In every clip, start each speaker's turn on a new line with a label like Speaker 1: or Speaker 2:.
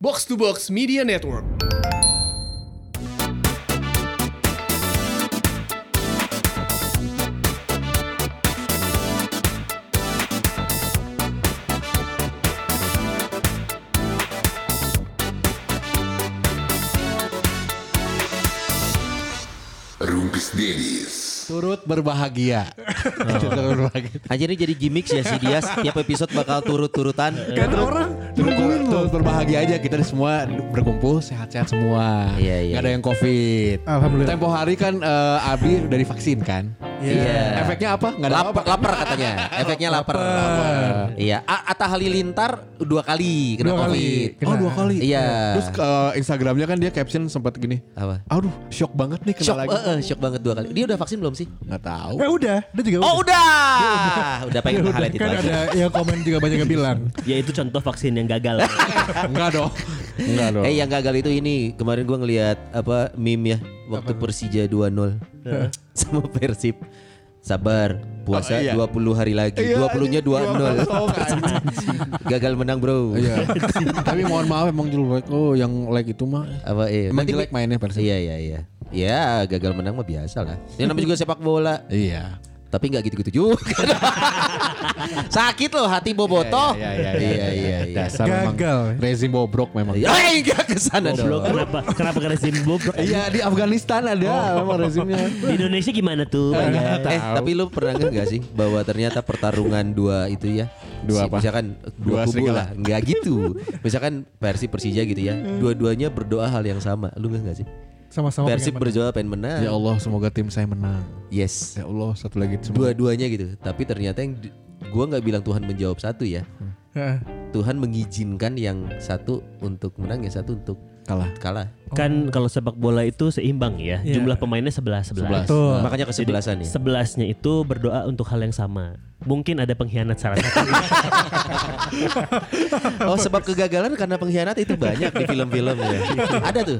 Speaker 1: Box to Box Media Network.
Speaker 2: Rumpis Dennis.
Speaker 3: Turut berbahagia. Turut berbahagia.
Speaker 4: Anjir ini jadi gimmick sih ya si dia setiap episode bakal turut-turutan.
Speaker 5: Karena orang
Speaker 3: Turut, turut berbahagia aja kita semua berkumpul sehat-sehat semua.
Speaker 4: Iya, iya.
Speaker 3: Gak ada yang covid.
Speaker 5: Alhamdulillah.
Speaker 3: Tempo hari kan eh, Abi udah divaksin kan.
Speaker 4: Iya.
Speaker 3: Efeknya apa? Gak ada
Speaker 4: Lap-
Speaker 3: apa-apa.
Speaker 4: lapar katanya. Efeknya lapar. Iya, A- Atta Halilintar dua kali kena
Speaker 5: Dua kali.
Speaker 4: Covid.
Speaker 5: Kena. Oh, dua kali.
Speaker 4: Iya.
Speaker 3: Terus eh, Instagramnya kan dia caption sempat gini.
Speaker 4: Apa?
Speaker 3: Aduh, shock banget nih kena
Speaker 4: Shock,
Speaker 3: lagi.
Speaker 4: eh, eh, shock banget dua kali. Dia udah vaksin belum sih?
Speaker 3: Nggak tahu.
Speaker 5: Eh udah, dia juga
Speaker 4: Oh udah. Udah pengen
Speaker 5: Udah,
Speaker 4: highlight itu
Speaker 5: kan
Speaker 4: aja.
Speaker 5: ada yang komen juga banyak yang bilang.
Speaker 6: Ya itu contoh vaksin yang gagal.
Speaker 3: Enggak dong. Enggak dong.
Speaker 4: Eh yang gagal itu ini kemarin gua ngelihat apa meme ya waktu Persija 2-0 sama Persib. Sabar, puasa
Speaker 3: Oh, iya.
Speaker 4: 20 hari lagi.
Speaker 3: Iya,
Speaker 4: 20-nya 2-0. Gagal menang, Bro.
Speaker 3: Iya. Tapi mohon maaf emang jelek. Oh, yang like itu mah.
Speaker 4: apa iya
Speaker 3: Emang
Speaker 4: Tapi-
Speaker 3: jelek mainnya Persib.
Speaker 4: iya iya iya ya gagal menang mah biasa lah ya namanya juga sepak bola
Speaker 3: Iya.
Speaker 4: tapi nggak gitu-gitu juga sakit loh hati boboto
Speaker 3: Iya iya iya. iya,
Speaker 4: iya
Speaker 3: Dasar
Speaker 5: Gagal.
Speaker 3: memang rezim bobrok memang.
Speaker 4: Hei, nggak kesana
Speaker 6: Goblok
Speaker 4: dong
Speaker 6: kenapa? Kenapa kena rezim bobrok?
Speaker 3: Iya di Afghanistan ada memang rezimnya.
Speaker 6: Di Indonesia gimana tuh?
Speaker 4: Eh, tapi lu pernah nggak nggak sih bahwa ternyata pertarungan dua itu ya
Speaker 3: Dua apa?
Speaker 4: misalkan dua,
Speaker 3: Dua
Speaker 4: kubu
Speaker 3: serigala.
Speaker 4: lah nggak gitu misalkan Persib Persija gitu ya dua-duanya berdoa hal yang sama lu nggak nggak sih
Speaker 5: Sama-sama
Speaker 4: Persib
Speaker 5: pengen
Speaker 4: berdoa pengen menang
Speaker 3: Ya Allah semoga tim saya menang.
Speaker 4: yes
Speaker 3: Ya Allah satu lagi semoga.
Speaker 4: dua-duanya gitu tapi ternyata yang di- gua nggak bilang Tuhan menjawab satu ya
Speaker 5: menang. Heeh.
Speaker 4: Tuhan mengizinkan yang satu untuk menang yang satu untuk
Speaker 3: kalah.
Speaker 4: kalah
Speaker 6: Kan kalau sepak bola itu seimbang ya.
Speaker 5: Iya.
Speaker 6: Jumlah pemainnya 11
Speaker 3: Sebelas.
Speaker 6: 11.
Speaker 5: Betul.
Speaker 4: Nah, makanya kesebelasan ya
Speaker 6: Sebelasnya itu berdoa untuk hal yang sama. Mungkin ada pengkhianat salah satu.
Speaker 4: oh sebab kegagalan karena pengkhianat itu banyak di film-film ya ada tuh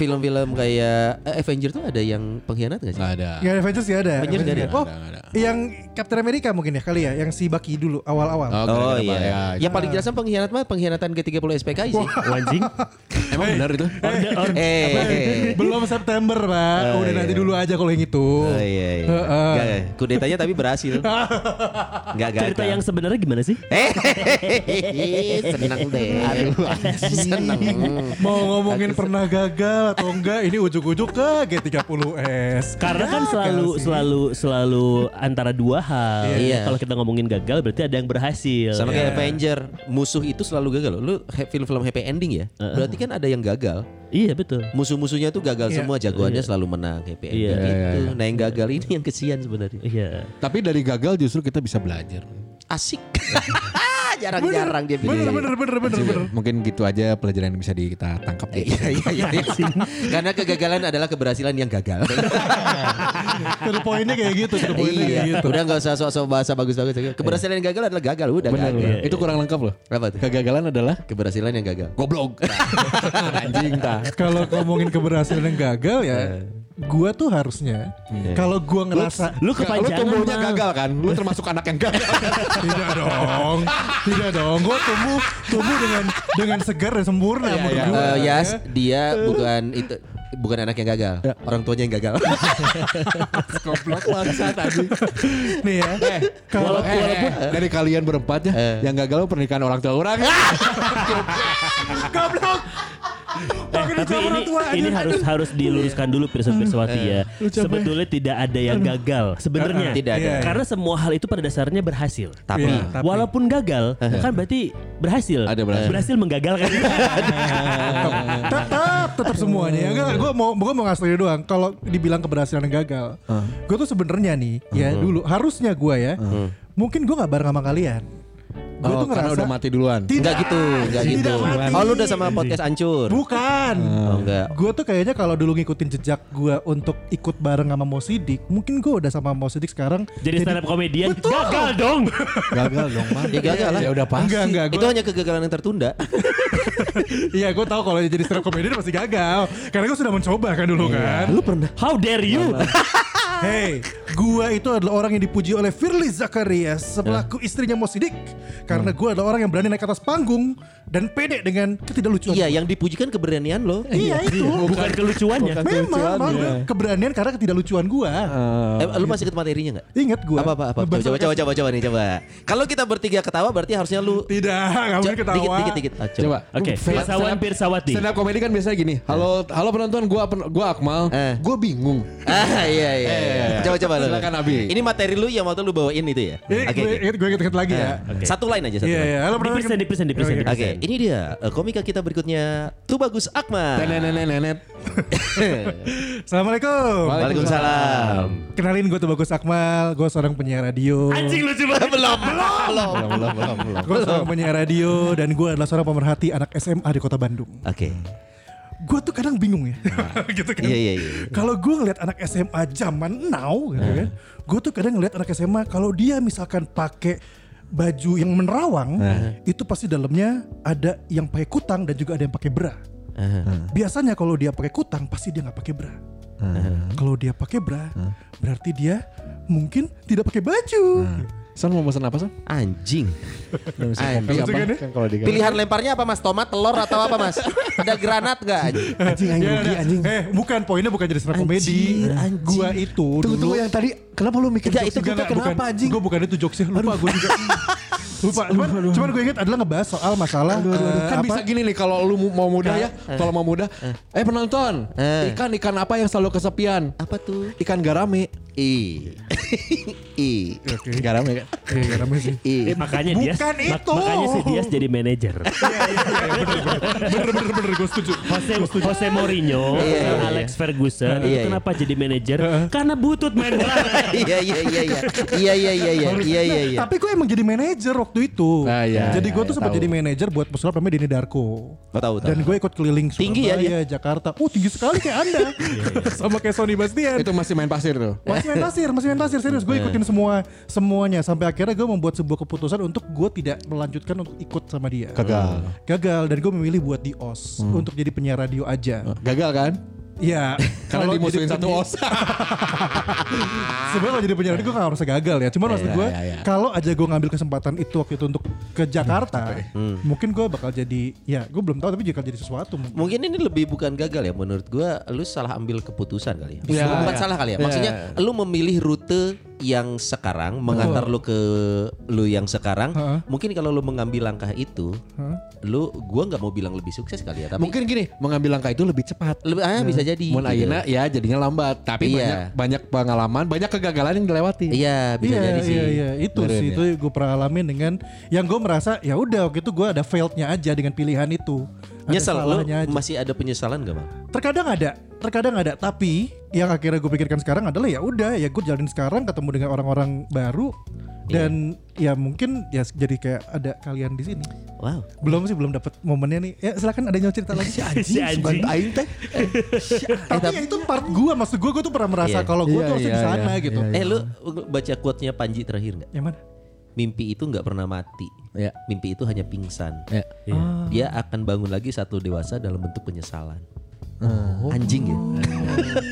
Speaker 4: film-film kayak eh, Avenger tuh ada yang pengkhianat gak sih
Speaker 3: Nggak ada.
Speaker 5: Ya Avengers ya ada.
Speaker 4: Avengers
Speaker 5: Avengers
Speaker 4: nggak
Speaker 5: ya
Speaker 4: ada?
Speaker 5: Oh,
Speaker 3: Nggak ada, nggak
Speaker 5: yang Captain America mungkin ya kali ya, yang si Bucky dulu awal-awal.
Speaker 4: Oh
Speaker 3: gara-gara bahaya.
Speaker 4: iya, yang paling jelasnya pengkhianat mah pengkhianatan ke-30 SPKI sih.
Speaker 6: Anjing.
Speaker 3: Emang benar itu?
Speaker 6: Orde orde.
Speaker 4: Eh, eh.
Speaker 5: ya?
Speaker 4: iya.
Speaker 5: Belum September, Pak. Udah nanti dulu aja kalau yang itu.
Speaker 4: Oh iya, iya.
Speaker 5: Heeh.
Speaker 4: Nggak, nggak. kudetanya tapi berhasil. Enggak gagal.
Speaker 6: Cerita yang sebenarnya gimana sih?
Speaker 4: Hehehe, seneng deh. Aduh, seneng.
Speaker 5: Mau ngomongin pernah gagal atau enggak, ini ujuk-ujuk ke G30S.
Speaker 6: Karena kan
Speaker 5: Gagal
Speaker 6: selalu
Speaker 5: sih.
Speaker 6: selalu selalu antara dua hal.
Speaker 4: Iya.
Speaker 6: Kalau kita ngomongin gagal berarti ada yang berhasil.
Speaker 4: Sama kayak Avenger, musuh itu selalu gagal. loh. Lu he- film-film happy ending ya, berarti kan ada yang gagal.
Speaker 6: Iya betul.
Speaker 4: Musuh-musuhnya tuh gagal
Speaker 5: Iya.
Speaker 4: semua, jagoannya selalu menang happy ending
Speaker 6: Iya.
Speaker 4: gitu. Nah yang gagal ini yang kesian sebenarnya.
Speaker 6: Iya.
Speaker 3: Tapi dari gagal justru kita bisa belajar.
Speaker 4: Asik. Jarang-jarang dia bilang.
Speaker 5: Bener, bener, bener, bener, bener.
Speaker 3: Mungkin gitu aja pelajaran yang bisa di, kita tangkap deh.
Speaker 4: Iya, iya, iya, iya. Karena kegagalan adalah keberhasilan yang gagal.
Speaker 6: Iya.
Speaker 5: To the point-nya kayak gitu, to the point-nya kayak
Speaker 4: iya.
Speaker 5: gitu.
Speaker 4: Udah nggak usah sok-sok bahasa bagus-bagus. Keberhasilan yang gagal adalah gagal. Udah
Speaker 3: Benar,
Speaker 4: gagal.
Speaker 3: benar. Itu kurang lengkap loh.
Speaker 4: Apa tuh?
Speaker 3: Kegagalan adalah
Speaker 4: Keberhasilan yang gagal.
Speaker 3: goblok. Anjing
Speaker 6: Iya.
Speaker 3: ta.
Speaker 5: Kalau ngomongin keberhasilan dan gagal ya, gua tuh harusnya kalau gua ngerasa
Speaker 6: Iya.
Speaker 3: Lu
Speaker 6: Lu kepanjangan.
Speaker 3: tumbuhnya
Speaker 6: Mang.
Speaker 3: gagal kan? Lu termasuk anak yang gagal.
Speaker 5: tidak dong, tidak dong, gua tumbuh tumbuh dengan dengan segar dan sempurna menurut
Speaker 3: iya.
Speaker 5: gua.
Speaker 4: Eh, Yas, dia bukan itu bukan anak yang gagal,
Speaker 3: Iya.
Speaker 4: orang tuanya yang gagal.
Speaker 3: goblok bangsat anjing.
Speaker 5: Nih ya,
Speaker 6: Eh,
Speaker 5: kalau
Speaker 3: Walaupun, walaupun dari kalian berempat ya, yang gagal pernikahan orang tua orang.
Speaker 5: goblok.
Speaker 6: Eh,
Speaker 5: Pakai
Speaker 6: tapi
Speaker 5: duit
Speaker 6: ini,
Speaker 5: orang tua Hmm.
Speaker 6: ini
Speaker 5: anjing.
Speaker 6: harus harus diluruskan dulu Pirsa Pirsawati
Speaker 5: Iya.
Speaker 6: ya. Sebetulnya tidak ada yang gagal sebenarnya.
Speaker 4: Tidak ada.
Speaker 5: Iya.
Speaker 6: Karena semua hal itu pada dasarnya berhasil.
Speaker 4: Tapi
Speaker 5: Iya, tapi-
Speaker 6: Walaupun gagal kan berarti berhasil.
Speaker 3: Ada berhasil.
Speaker 6: menggagalkan.
Speaker 5: tetap tetap semuanya ya enggak gue mau gue mau ngasih tau doang kalau dibilang keberhasilan dan gagal
Speaker 4: Ah.
Speaker 5: gue tuh sebenarnya nih ya dulu harusnya gue ya
Speaker 4: Ah.
Speaker 5: mungkin gue nggak bareng sama kalian gue
Speaker 3: Oh,
Speaker 5: tuh
Speaker 3: karena
Speaker 5: ngerasa
Speaker 3: udah mati duluan.
Speaker 4: Enggak gitu, enggak
Speaker 5: Tidak
Speaker 4: gitu.
Speaker 5: mati.
Speaker 4: Oh, lu udah sama podcast hancur.
Speaker 5: bukan
Speaker 4: Oh, enggak.
Speaker 5: Gue tuh kayaknya kalau dulu ngikutin jejak gue untuk ikut bareng sama Mo Sidik, mungkin gue udah sama Mo Sidik sekarang.
Speaker 6: Jadi stand up komedian
Speaker 5: Betul.
Speaker 6: gagal dong.
Speaker 3: Gagal dong, Mang.
Speaker 4: Ya gagal lah.
Speaker 3: Ya udah pasti.
Speaker 5: Enggak, enggak.
Speaker 4: Itu hanya kegagalan yang tertunda.
Speaker 5: Iya, gue tahu kalau
Speaker 4: Iya.
Speaker 5: jadi stand up comedian pasti gagal. Karena gue sudah mencoba kan dulu kan.
Speaker 4: Lu pernah
Speaker 6: How dare you?
Speaker 5: Hey, gua itu adalah orang yang dipuji oleh Firly Zacharias sebelaku
Speaker 4: Ya.
Speaker 5: istrinya Mo Sidik
Speaker 4: Hmm.
Speaker 5: karena gua adalah orang yang berani naik ke atas panggung dan pede dengan ketidaklucuan.
Speaker 4: Iya, yang dipujikan keberanian lo.
Speaker 5: Iya, itu.
Speaker 6: Bukan kelucuannya.
Speaker 5: Memang,
Speaker 4: iya.
Speaker 5: memang gua keberanian karena ketidaklucuan gua.
Speaker 4: Eh, lu masih ikut materinya nggak?
Speaker 5: Ingat gua.
Speaker 4: Eh, Apa apa apa. Coba
Speaker 5: Ngebahas
Speaker 4: coba coba coba, coba nih coba. Kalau kita bertiga ketawa berarti harusnya lu
Speaker 5: Tidak, kamu
Speaker 4: Co-
Speaker 5: ketawa.
Speaker 4: Dikit dikit dikit. Ah,
Speaker 3: Coba. Uh,
Speaker 6: Oke,
Speaker 3: Stand up-
Speaker 6: Pirsawan Pirsawati.
Speaker 3: Stand up comedy kan biasanya gini. Halo halo penonton, gua pen- gua Akmal.
Speaker 4: Eh.
Speaker 3: Gua bingung.
Speaker 4: Ah iya iya. iya.
Speaker 3: Eh,
Speaker 4: Coba coba lu.
Speaker 3: silakan, Abi.
Speaker 4: Ini materi lu yang waktu lu bawain itu ya.
Speaker 5: Eh,
Speaker 4: Oke.
Speaker 5: gue
Speaker 4: oke.
Speaker 5: ingat gue ingat lagi ya.
Speaker 6: Oke.
Speaker 4: Satu line aja satu
Speaker 5: Iya,
Speaker 4: line.
Speaker 5: iya. Halo,
Speaker 6: Di persen, di persen, di persen, di
Speaker 4: Oke, ini dia eh, komika kita berikutnya Tubagus Akmal.
Speaker 3: Nenet.
Speaker 5: Assalamualaikum.
Speaker 4: Waalaikumsalam.
Speaker 5: Kenalin gue tuh Bagus Akmal, gue seorang penyiar radio.
Speaker 6: Anjing lucu banget.
Speaker 4: Belum, belum.
Speaker 5: Gue seorang penyiar radio dan gue adalah seorang pemerhati anak SMA di kota Bandung.
Speaker 4: Oke.
Speaker 5: Gue tuh kadang bingung ya, gitu kan.
Speaker 4: Iya iya iya. Nah.
Speaker 5: Kalau gue ngeliat anak SMA zaman now, gitu kan, gue tuh kadang ngeliat anak SMA kalau dia misalkan pakai baju yang menerawang,
Speaker 4: Nah.
Speaker 5: itu pasti dalamnya ada yang pakai kutang dan juga ada yang pakai bra.
Speaker 4: Eh,
Speaker 3: Hmm.
Speaker 5: Biasanya kalau dia pakai kutang pasti dia nggak pakai bra.
Speaker 3: Hmm.
Speaker 5: Kalau dia pakai bra, berarti dia mungkin tidak pakai baju.
Speaker 3: Hmm. San mau pesan apa, San?
Speaker 4: Anjing. Anjing.
Speaker 5: Apa?
Speaker 3: Kan kalau di
Speaker 4: Pilihan lemparnya apa Mas? Tomat, telur atau apa Mas? Ada granat enggak?
Speaker 3: anjing anjing
Speaker 5: Ya,
Speaker 3: rugi
Speaker 5: ya.
Speaker 3: anjing.
Speaker 5: Eh, bukan poinnya bukan jadi stand up comedy.
Speaker 3: Hmm.
Speaker 4: Anjir, anjing.
Speaker 5: Gua itu
Speaker 3: Tunggu
Speaker 5: dulu
Speaker 3: tunggu yang tadi kenapa lu mikir
Speaker 4: Enggak,
Speaker 3: jokes
Speaker 4: itu
Speaker 3: juga
Speaker 4: kita
Speaker 3: nggak? Bukan.
Speaker 4: kenapa, anjing?
Speaker 5: Gue bukan itu jokesnya lupa gue juga. lupa. Cuman, cuman gue inget adalah ngebahas soal masalah eh,
Speaker 3: kan
Speaker 5: apa?
Speaker 3: bisa gini nih kalau lu mau mudah ya, kalau mau mudah, eh penonton,
Speaker 4: Eh.
Speaker 3: ikan ikan apa yang selalu kesepian?
Speaker 4: Apa tuh?
Speaker 3: Ikan garame.
Speaker 4: I. I.
Speaker 3: Garame kan.
Speaker 5: Iya, iya, namanya sih.
Speaker 4: I.
Speaker 6: Eh, makanya dia
Speaker 5: Bukan itu.
Speaker 6: makanya si Dias jadi manajer.
Speaker 5: Bener bener bener gue setuju. Iya,
Speaker 6: Jose, Jose Mourinho, Alex Ferguson, itu
Speaker 4: Iya, iya.
Speaker 6: kenapa jadi manajer? Karena butut main bola.
Speaker 4: Iya iya iya iya. Iya iya iya iya. Iya iya iya.
Speaker 5: Tapi gue emang jadi manajer waktu itu.
Speaker 3: Nah, iya,
Speaker 5: jadi
Speaker 3: iya,
Speaker 5: gue tuh
Speaker 3: iya,
Speaker 5: sempat
Speaker 3: tahu.
Speaker 5: jadi manajer buat pesulap namanya Denny Darko.
Speaker 4: Oh, tahu, tahu.
Speaker 5: Dan gue ikut keliling Surabaya,
Speaker 4: Tinggi ya
Speaker 5: Jakarta. Oh tinggi sekali kayak anda. Sama kayak Sony Bastian.
Speaker 3: Iya, Itu Eh. masih main pasir tuh.
Speaker 5: Masih main pasir, masih main pasir serius. Gue ikutin semua semuanya sampai akhirnya gue membuat sebuah keputusan untuk gue tidak melanjutkan untuk ikut sama dia. Eh,
Speaker 3: Gagal. Hmm.
Speaker 5: Gagal dan gue memilih buat di OS untuk jadi penyiar radio aja.
Speaker 3: Gagal kan?
Speaker 5: Ya,
Speaker 3: Karena
Speaker 5: kalau
Speaker 3: dimusuhin
Speaker 5: jadi
Speaker 3: satu
Speaker 5: penyiar-
Speaker 3: os.
Speaker 5: Sebenarnya kalau jadi penyiar radio gue gak harus gagal ya. Cuman maksud
Speaker 3: Iya,
Speaker 5: gue
Speaker 3: iya, Hmm, iya.
Speaker 5: kalau aja gue ngambil kesempatan itu waktu itu untuk ke Jakarta, mungkin gue bakal jadi ya gue belum tahu tapi bakal jadi sesuatu.
Speaker 4: Mungkin ini lebih bukan gagal ya menurut gua lu salah ambil keputusan kali ya.
Speaker 3: Iya.
Speaker 4: Bukan
Speaker 3: Iya.
Speaker 4: salah kali ya. Maksudnya lu memilih rute yang sekarang mengantar lu ke lu yang sekarang.
Speaker 5: Heeh.
Speaker 4: Mungkin kalau lu mengambil langkah itu, lu gua nggak mau bilang lebih sukses kali ya, tapi
Speaker 3: Mungkin gini, mengambil langkah itu lebih cepat.
Speaker 4: lebih
Speaker 5: Iya.
Speaker 4: ah, bisa jadi.
Speaker 3: Mun
Speaker 4: gitu.
Speaker 3: Aina ya jadinya lambat, tapi
Speaker 4: Iya.
Speaker 3: banyak banyak pengalaman, banyak kegagalan yang dilewati.
Speaker 4: Iya, bisa
Speaker 5: Iya,
Speaker 4: jadi sih.
Speaker 5: iya, iya, itu
Speaker 3: Keren
Speaker 5: sih
Speaker 3: ya.
Speaker 5: itu gue pernah alamin dengan yang gue merasa ya udah waktu itu gue ada failednya aja dengan pilihan itu. Ada
Speaker 4: Nyesel lu
Speaker 5: salahnya aja.
Speaker 4: masih ada penyesalan gak, Bang?
Speaker 5: Terkadang ada, terkadang ada. Tapi yang akhirnya gue pikirkan sekarang adalah ya udah ya gue jalanin sekarang ketemu dengan orang-orang baru dan ya mungkin ya jadi kayak ada kalian di sini.
Speaker 4: Wow.
Speaker 5: Belum sih belum dapat momennya nih. Ya silakan ada yang mau cerita lagi.
Speaker 6: Si anjing.
Speaker 3: Aing teh.
Speaker 5: tapi ya itu part gue, maksud gue gue tuh pernah merasa
Speaker 4: Iya.
Speaker 5: kalau gue
Speaker 3: Iya,
Speaker 5: tuh harusnya di
Speaker 3: iya,
Speaker 5: sana
Speaker 3: iya,
Speaker 5: gitu. Ya,
Speaker 3: iya,
Speaker 4: Eh, lu baca quote-nya Panji terakhir nggak?
Speaker 5: Yang mana?
Speaker 4: Mimpi itu nggak pernah mati.
Speaker 3: Iya.
Speaker 4: Mimpi itu hanya pingsan.
Speaker 3: Iya.
Speaker 4: Dia akan bangun lagi satu dewasa dalam bentuk penyesalan.
Speaker 5: Oh.
Speaker 4: Anjing ya.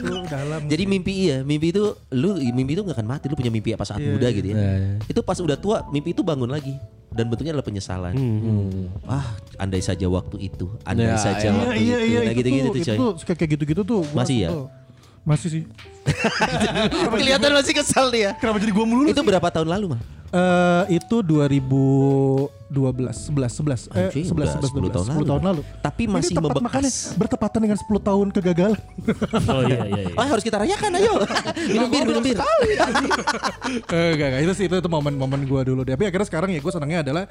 Speaker 5: Tuh, dalam.
Speaker 4: Jadi mimpi iya, mimpi itu lu mimpi itu nggak akan mati. Lu punya mimpi apa saat muda gitu ya.
Speaker 3: Iya, iya.
Speaker 4: Itu pas udah tua, mimpi itu bangun lagi dan bentuknya adalah penyesalan.
Speaker 5: Hmm,
Speaker 4: Ah, andai saja waktu itu, andai
Speaker 3: Ya,
Speaker 4: saja
Speaker 5: Iya
Speaker 4: waktu
Speaker 5: iya
Speaker 4: itu.
Speaker 5: iya
Speaker 4: nah,
Speaker 5: itu
Speaker 4: gitu-gitu
Speaker 5: tuh,
Speaker 4: tuh,
Speaker 5: itu
Speaker 4: coy.
Speaker 5: tuh suka kayak gitu-gitu tuh. gua
Speaker 4: Masih ya?
Speaker 5: tuh. Masih sih.
Speaker 4: Kelihatan masih kesal dia.
Speaker 5: Kenapa jadi gue mulu?
Speaker 4: Itu berapa tahun lalu, mah?
Speaker 5: Eh itu 2012, 11, 11, eh,
Speaker 4: Anjing,
Speaker 5: 11,
Speaker 4: udah
Speaker 5: 11,
Speaker 4: 10 tahun
Speaker 5: 10 tahun
Speaker 4: lalu.
Speaker 5: lalu.
Speaker 4: Tapi
Speaker 5: Ini
Speaker 4: masih
Speaker 5: tepat
Speaker 4: membekas.
Speaker 5: makanya bertepatan dengan 10 tahun kegagalan.
Speaker 6: Oh iya iya. iya.
Speaker 4: Oh harus kita rayakan ayo Minum bir minum bir
Speaker 5: Eh, enggak, enggak, itu sih itu, itu momen-momen gue dulu. deh. Tapi akhirnya sekarang ya gue senangnya adalah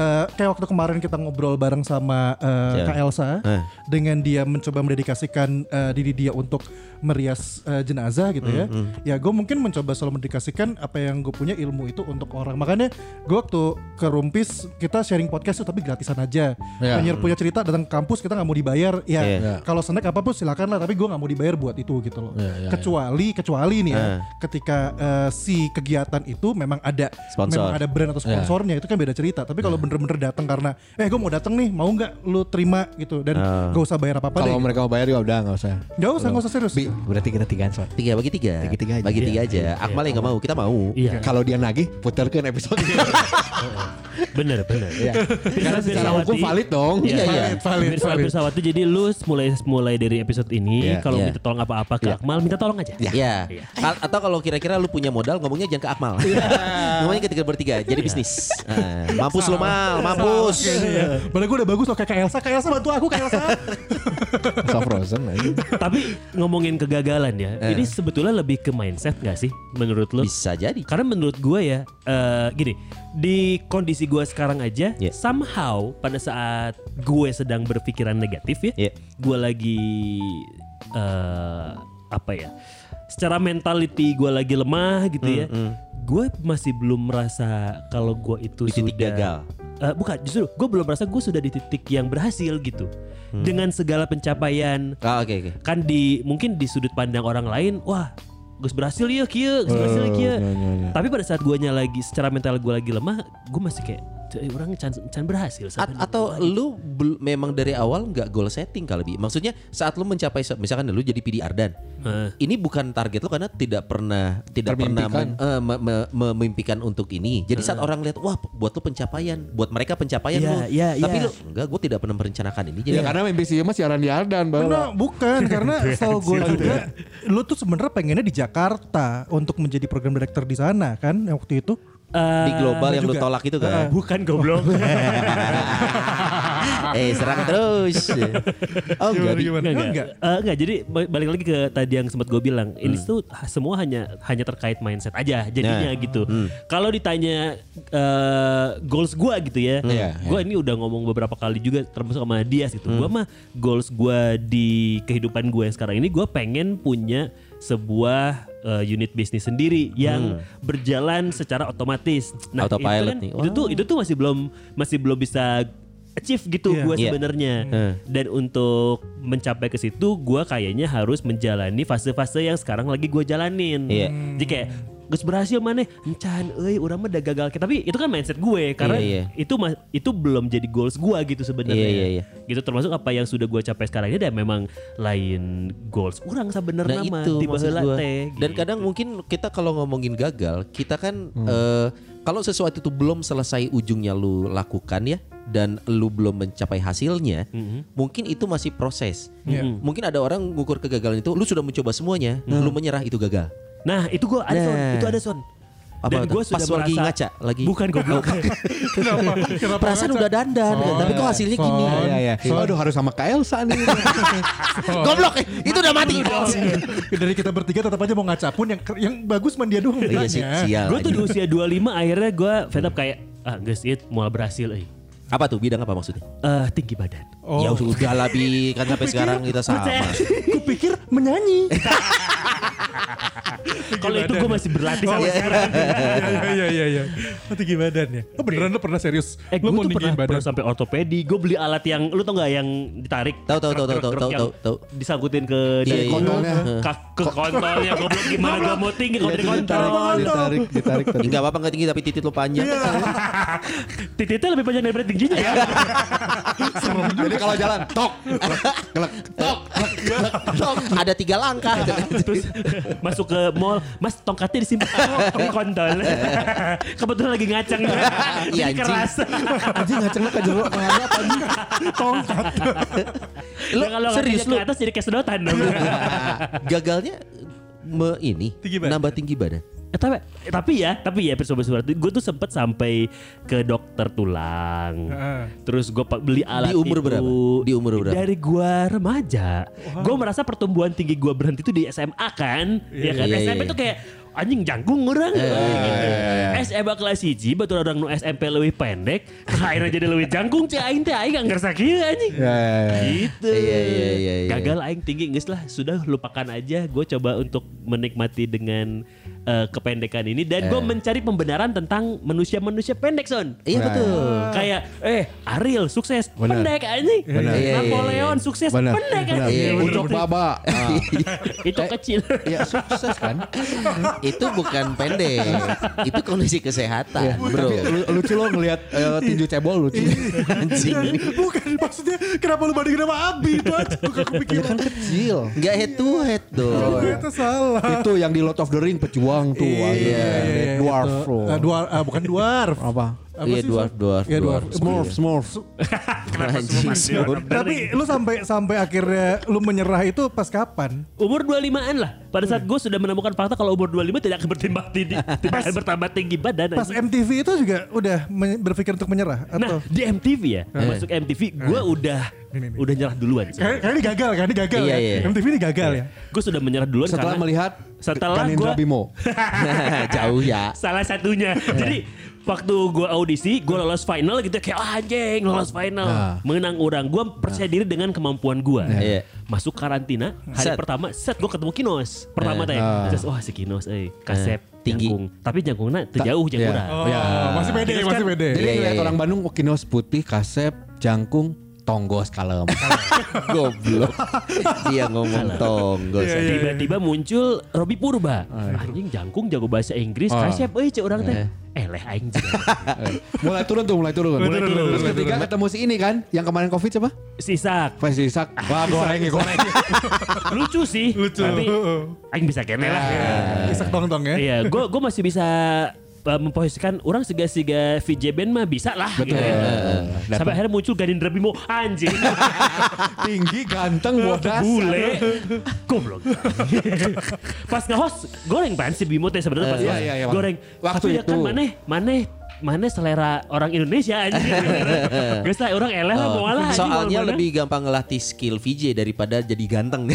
Speaker 5: eh kayak waktu kemarin kita ngobrol bareng sama eh,
Speaker 4: Siapa?
Speaker 5: Kak Elsa
Speaker 4: Eh.
Speaker 5: dengan dia mencoba mendedikasikan eh, diri dia untuk merias eh, jenazah
Speaker 4: Hmm,
Speaker 5: gitu ya. Ya gue mungkin mencoba selalu mendedikasikan apa yang gue punya ilmu itu untuk orang. Makanya gue waktu ke Rumpis kita sharing podcast tuh tapi gratisan aja.
Speaker 3: Iya.
Speaker 5: Penyiar punya cerita datang ke kampus kita nggak mau dibayar. Ya
Speaker 4: Hmm. Iya.
Speaker 3: Iya.
Speaker 5: kalau snack apapun silakan lah tapi gue nggak mau dibayar buat itu gitu loh.
Speaker 4: Ya,
Speaker 3: Iya, iya,
Speaker 5: kecuali kecuali nih ya
Speaker 4: Ah.
Speaker 5: ketika eh, si kegiatan itu memang ada
Speaker 4: Sponsor. Ya.
Speaker 5: memang ada brand atau sponsornya itu kan beda cerita. Tapi kalau bener-bener datang karena eh gue mau datang nih mau nggak lu terima gitu dan
Speaker 4: Ya.
Speaker 5: gak usah bayar apa-apa deh.
Speaker 3: Kalau mereka mau bayar ya udah nggak usah.
Speaker 5: Gak usah nggak usah serius.
Speaker 3: Bi, berarti kita tigaan soal.
Speaker 4: Tiga bagi tiga.
Speaker 3: Tiga- tiga aja.
Speaker 4: Bagi tiga
Speaker 6: Iya,
Speaker 4: aja.
Speaker 6: iya,
Speaker 4: Akmal yang nggak mau, kita mau.
Speaker 6: Iya,
Speaker 3: Kalau dia nagih, putarkan episode.
Speaker 6: bener bener.
Speaker 3: Iya. Karena
Speaker 6: Pirsa
Speaker 3: secara hukum
Speaker 6: Pirsawati-
Speaker 3: valid dong.
Speaker 4: Iya, iya.
Speaker 6: Valid, valid, valid. Pirsawati, jadi lu mulai mulai dari episode ini
Speaker 3: Iya.
Speaker 6: kalau
Speaker 4: Iya.
Speaker 6: minta tolong apa-apa ke Akmal minta tolong aja.
Speaker 4: Ya. Ka- Atau kalau kira-kira lu punya modal ngomongnya jangan ke Akmal. ngomongnya ke tiga bertiga jadi bisnis. Ah, mampus lu mal, mampus.
Speaker 5: Iya, Padahal gue udah bagus loh kayak Kak Elsa. Kak Elsa bantu aku Kak Elsa.
Speaker 3: So frozen aja.
Speaker 6: Tapi ngomongin kegagalan ya,
Speaker 3: Iya.
Speaker 6: ini sebetulnya lebih ke mindset gak sih menurut lu?
Speaker 4: Bisa jadi.
Speaker 6: Karena menurut gue ya, eh, gini, di kondisi gue sekarang aja,
Speaker 4: Yeah.
Speaker 6: somehow pada saat gue sedang berpikiran negatif ya,
Speaker 4: Yeah.
Speaker 6: gue lagi eh, apa ya? Secara mentality gue lagi lemah gitu ya. Gue masih belum merasa kalau gue itu
Speaker 4: Di titik
Speaker 6: sudah
Speaker 4: gagal.
Speaker 6: Eh, bukan, justru gue belum merasa gue sudah di titik yang berhasil gitu.
Speaker 4: Hmm.
Speaker 6: Dengan segala pencapaian,
Speaker 4: Ah, Oke oke.
Speaker 6: kan di mungkin di sudut pandang orang lain wah Gus berhasil ya kia, Gus berhasil ya kia. Tapi pada saat guanya lagi secara mental gua lagi lemah, gua masih kayak "Tuh, eh, orang can, can berhasil.
Speaker 4: A- atau lu bel- memang dari awal nggak goal setting kali bi maksudnya saat lu mencapai se- misalkan lu jadi PD Ardan
Speaker 6: Eh.
Speaker 4: ini bukan target lu karena tidak pernah tidak pernah men- eh, me- me- memimpikan untuk ini jadi saat orang lihat wah buat lu pencapaian buat mereka pencapaian
Speaker 6: Iya,
Speaker 4: lu
Speaker 6: iya,
Speaker 4: tapi
Speaker 6: iya.
Speaker 4: lu enggak gue tidak pernah merencanakan ini jadi
Speaker 3: Ya karena mimpi sih mas siaran di Ardan
Speaker 4: Oh.
Speaker 5: Karena
Speaker 3: bahwa
Speaker 5: bukan karena setahu gue juga lu tuh sebenarnya pengennya di Jakarta untuk menjadi program director di sana kan yang waktu itu.
Speaker 4: di global
Speaker 6: Iya.
Speaker 5: Eh,
Speaker 4: yang lu
Speaker 5: juga.
Speaker 4: tolak itu kan
Speaker 6: bukan goblok.
Speaker 4: eh serang terus oh enggak Bi.
Speaker 5: Gimana?
Speaker 6: Enggak,
Speaker 5: Enggak.
Speaker 6: enggak. Eh, enggak, jadi ba- balik lagi ke tadi yang sempat gue bilang, ini tuh ha- semua hanya hanya terkait mindset aja jadinya gitu. Kalau ditanya eh, goals gue gitu ya,
Speaker 3: Iya,
Speaker 6: gue ini udah ngomong beberapa kali juga termasuk sama Dias gitu. Gue mah goals gue di kehidupan gue yang sekarang ini gue pengen punya sebuah eh, unit bisnis sendiri yang berjalan secara otomatis.
Speaker 4: Autopilot
Speaker 6: itu kan-
Speaker 4: nih.
Speaker 6: itu tuh itu tuh masih belum masih belum bisa achieve gitu
Speaker 5: Iya.
Speaker 6: gue
Speaker 4: Iya.
Speaker 6: sebenarnya dan untuk mencapai ke situ gue kayaknya harus menjalani fase-fase yang sekarang lagi gue jalanin
Speaker 4: Iya.
Speaker 6: jadi kayak Gus berhasil mana? Encan, euy, urang mah udah gagal. Tapi itu kan mindset gue karena
Speaker 4: Iya,
Speaker 6: itu ma- itu belum jadi goals gue gitu sebenarnya.
Speaker 4: Iya, iya, iya.
Speaker 6: Gitu termasuk apa yang sudah gue capai sekarang ini dan memang lain goals urang
Speaker 4: Nah
Speaker 6: sebenarnya mah
Speaker 4: itu
Speaker 6: tipe
Speaker 4: maksud
Speaker 6: heula
Speaker 4: gua.
Speaker 6: teh,
Speaker 4: Dan
Speaker 6: gitu.
Speaker 4: kadang mungkin kita kalau ngomongin gagal, kita kan eh, kalau sesuatu itu belum selesai ujungnya lu lakukan ya dan lu belum mencapai hasilnya, mungkin itu masih proses. Mungkin ada orang ngukur kegagalan itu, lu sudah mencoba semuanya, lu menyerah itu gagal.
Speaker 6: Nah itu gue ada son,
Speaker 4: Nah.
Speaker 6: itu ada son.
Speaker 4: Apa
Speaker 6: Dan
Speaker 4: tuh?
Speaker 6: gue sudah
Speaker 4: Pas lagi
Speaker 6: merasa-
Speaker 4: ngaca, lagi-
Speaker 6: Bukan goblok.
Speaker 5: Kenapa? Kenapa
Speaker 4: Perasaan
Speaker 5: ngaca?
Speaker 4: udah dandan, kan?
Speaker 5: Son,
Speaker 4: tapi kok hasilnya
Speaker 5: son.
Speaker 4: gini.
Speaker 3: Iya iya. Aduh harus sama Kak Elsa nih.
Speaker 4: Goblok, eh, itu udah mati.
Speaker 5: Iya Dari kita bertiga tetap aja mau ngaca pun yang yang bagus man dia doang.
Speaker 4: Iya sih,
Speaker 5: bedanya.
Speaker 4: sial.
Speaker 6: gue tuh di
Speaker 4: anjing.
Speaker 6: usia 25 akhirnya gue fed up kayak ah guys it mulai berhasil eh.
Speaker 4: Apa tuh bidang apa maksudnya?
Speaker 6: Eh, tinggi badan.
Speaker 5: Oh.
Speaker 4: Ya sudah lah Bi, kan sampai sekarang kita sama.
Speaker 5: Gue pikir menyanyi.
Speaker 6: Kalau itu gue masih berlatih
Speaker 5: Oh,
Speaker 6: sama sekarang.
Speaker 5: Iya iya iya. Oh, Tinggi badan ya. Oh beneran lu pernah serius?
Speaker 6: Eh gue
Speaker 5: Lu mau
Speaker 6: tuh
Speaker 5: tinggiin
Speaker 6: pernah,
Speaker 5: badan?
Speaker 6: pernah sampai ortopedi. Gue beli alat yang lu tau gak yang ditarik.
Speaker 4: Tahu, tahu, tahu,
Speaker 6: Truk-truk
Speaker 4: tahu, tahu,
Speaker 6: yang
Speaker 4: tahu, tahu.
Speaker 6: Disangkutin ke
Speaker 4: Iya,
Speaker 6: dari
Speaker 4: iya.
Speaker 3: Kontolnya.
Speaker 6: Ka- ke kontolnya. Gue gimana gue mau tinggi
Speaker 4: Iya,
Speaker 6: kalau dari kontol. Gitu.
Speaker 3: Ditarik, ditarik.
Speaker 4: Ya, Nggak apa-apa nggak tinggi tapi titik lu panjang.
Speaker 5: Iya.
Speaker 3: Iya,
Speaker 6: Titiknya lebih panjang daripada tingginya ya.
Speaker 3: Jadi kalau jalan, tok.
Speaker 4: Ada tiga langkah.
Speaker 3: Iya.
Speaker 6: Terus masuk ke mall, Mas tongkatnya disimpan oh, di kontol. Kebetulan lagi ngacang.
Speaker 4: Iya,
Speaker 6: Jadi
Speaker 4: anjing.
Speaker 6: keras.
Speaker 3: Anjing ngaceng lu ke jeruk. Mana apa anjing?
Speaker 5: Tongkat.
Speaker 4: Lu
Speaker 6: Ya, kalau
Speaker 4: serius
Speaker 6: kakinya
Speaker 4: lu
Speaker 6: ke atas jadi kayak sedotan dong.
Speaker 4: Nah, gagalnya me ini
Speaker 5: Tinggi badan.
Speaker 4: nambah tinggi badan.
Speaker 6: Eh, tapi, eh, tapi ya, tapi ya sobat sobat gue tuh sempet sampai ke dokter tulang.
Speaker 5: Heeh.
Speaker 6: Terus gue beli alat
Speaker 4: umur
Speaker 6: itu.
Speaker 4: berapa? Di umur berapa?
Speaker 6: Dari gue remaja. Gue merasa pertumbuhan tinggi gue berhenti tuh di SMA kan. Ya kan?
Speaker 4: Iya, iya,
Speaker 6: SMP
Speaker 4: iya. Eh,
Speaker 6: tuh kayak anjing jangkung orang. gitu. SMA kelas hiji batu orang nu SMP lebih pendek. Akhirnya jadi lebih jangkung. Cek aing teh aing gak ngerasa kieu, anjing.
Speaker 3: Ya, ya, ya.
Speaker 6: Gitu.
Speaker 4: Iya, iya, iya, iya.
Speaker 6: Gagal aing tinggi geus lah, sudah lupakan aja. Gue coba untuk menikmati dengan eh, kependekan ini dan gue mencari pembenaran tentang manusia-manusia pendek son.
Speaker 4: Eh. Iya
Speaker 3: Nah,
Speaker 4: betul.
Speaker 6: Kayak eh Ariel sukses
Speaker 3: Benar.
Speaker 6: pendek anjing.
Speaker 3: Benar.
Speaker 4: Iya, iya, iya.
Speaker 6: Napoleon sukses
Speaker 3: Benar.
Speaker 6: pendek
Speaker 3: Benar.
Speaker 6: anjing.
Speaker 3: Ucok baba. Nah,
Speaker 6: Itu
Speaker 4: Eh.
Speaker 6: kecil.
Speaker 3: ya sukses kan.
Speaker 4: itu bukan pendek. itu kondisi kesehatan, Eh, Bro.
Speaker 3: Iya. Tapi lu- lucu lo ngelihat eh, tinju cebol lucu.
Speaker 4: Anjing.
Speaker 5: Bukan maksudnya kenapa lu bandingin sama Abi itu aja gue gak
Speaker 3: Dia
Speaker 5: kepikiran.
Speaker 3: kan kecil.
Speaker 4: Enggak head to head
Speaker 5: Oh,
Speaker 4: dong.
Speaker 5: itu salah.
Speaker 3: Itu yang di Lord of the Ring pejuang tuh.
Speaker 5: Iya,
Speaker 3: ada
Speaker 5: iya,
Speaker 3: Red
Speaker 5: iya,
Speaker 3: Dwarf
Speaker 5: itu.
Speaker 3: loh.
Speaker 5: Ah, dwarf, ah, bukan dwarf.
Speaker 3: Apa?
Speaker 5: Apa
Speaker 4: Iya,
Speaker 5: sih,
Speaker 4: dwarf,
Speaker 5: Son?
Speaker 4: dwarf,
Speaker 5: Iya, dwarf.
Speaker 4: dwarf.
Speaker 5: Smurf.
Speaker 3: Smurf, Smurf.
Speaker 4: Anjing.
Speaker 5: Tapi lu sampai sampai akhirnya lu menyerah itu pas kapan?
Speaker 6: Umur 25-an lah. Pada saat gue sudah menemukan fakta kalau umur 25 tidak akan bertambah tinggi, tidak akan bertambah tinggi badan.
Speaker 5: Pas
Speaker 6: anjing.
Speaker 5: MTV itu juga udah men- berpikir untuk menyerah
Speaker 6: Nah,
Speaker 5: atau?
Speaker 6: di MTV ya,
Speaker 3: Eh.
Speaker 6: masuk MTV gue udah udah nyerah duluan.
Speaker 5: Kayaknya kayaknya ini gagal kan, ini gagal
Speaker 4: Iya,
Speaker 5: ya.
Speaker 4: iya.
Speaker 5: MTV ini gagal ya.
Speaker 6: Gue sudah menyerah duluan
Speaker 3: Setelah
Speaker 6: karena
Speaker 3: melihat
Speaker 6: setelah
Speaker 3: Kanindra
Speaker 6: gua-
Speaker 3: Bimo.
Speaker 4: Jauh ya.
Speaker 6: salah satunya. Jadi waktu gue audisi, gue lolos final gitu kayak "Ah, anjing lolos final,
Speaker 3: Nah.
Speaker 6: menang orang. Gue percaya diri dengan kemampuan gue.
Speaker 4: Iya.
Speaker 6: Masuk karantina
Speaker 4: Set.
Speaker 6: hari pertama, set gue ketemu Kinos.
Speaker 3: Nah.
Speaker 6: Pertama tadi,
Speaker 3: Ah.
Speaker 6: terus wah si Kinos, eh kasep
Speaker 4: Eh, tinggi.
Speaker 6: jangkung. Tapi jangkungnya terjauh
Speaker 3: Iya.
Speaker 6: jangkura.
Speaker 5: Oh,
Speaker 3: Iya.
Speaker 5: masih pede,
Speaker 6: Terus kan-
Speaker 5: masih pede.
Speaker 3: Jadi
Speaker 4: Ya. Iya,
Speaker 3: ngeliat
Speaker 4: iya,
Speaker 3: orang
Speaker 4: iya.
Speaker 3: Bandung Okinos putih, kasep, jangkung, tonggos, kalem.
Speaker 4: Goblok. Dia ngomong
Speaker 5: Iya,
Speaker 4: tonggos.
Speaker 6: Tiba-tiba muncul Robi Purba. Anjing jangkung jago bahasa Inggris,
Speaker 3: Ah.
Speaker 6: kasep euy cek orang teh. Eh leh aing jeung.
Speaker 3: mulai turun tuh, mulai turun.
Speaker 5: Mulai turun,
Speaker 3: Terus
Speaker 5: mulai
Speaker 3: ketiga ketemu si ini kan, yang kemarin covid siapa?
Speaker 6: Sisak.
Speaker 3: Faiz Isak. Wah goreng ya, goreng.
Speaker 6: Lucu sih,
Speaker 5: Lucu.
Speaker 6: tapi aing bisa kene lah.
Speaker 3: Ah.
Speaker 5: Isak tong-tong
Speaker 3: Eh?
Speaker 5: ya.
Speaker 6: Iya, gue gue masih bisa uh, memposisikan orang sega-sega VJ band mah bisa lah. Betul.
Speaker 3: Eh,
Speaker 6: Sampai akhirnya muncul Ganindra Bimo anjing
Speaker 3: Tinggi, ganteng, bodas.
Speaker 6: bule goblok. pas nge-host goreng pan si Bimo teh sebenarnya
Speaker 3: Eh,
Speaker 6: pas
Speaker 3: iya,
Speaker 6: nge-host.
Speaker 3: iya, iya, Bang.
Speaker 6: goreng.
Speaker 3: Waktu
Speaker 6: Tapi ya kan
Speaker 3: itu.
Speaker 6: maneh maneh maneh selera orang Indonesia anjing. Geus lah orang eleh lah
Speaker 4: Oh,
Speaker 6: moal lah anjing,
Speaker 4: soalnya
Speaker 6: moal mana.
Speaker 4: lebih gampang ngelatih skill VJ daripada jadi ganteng.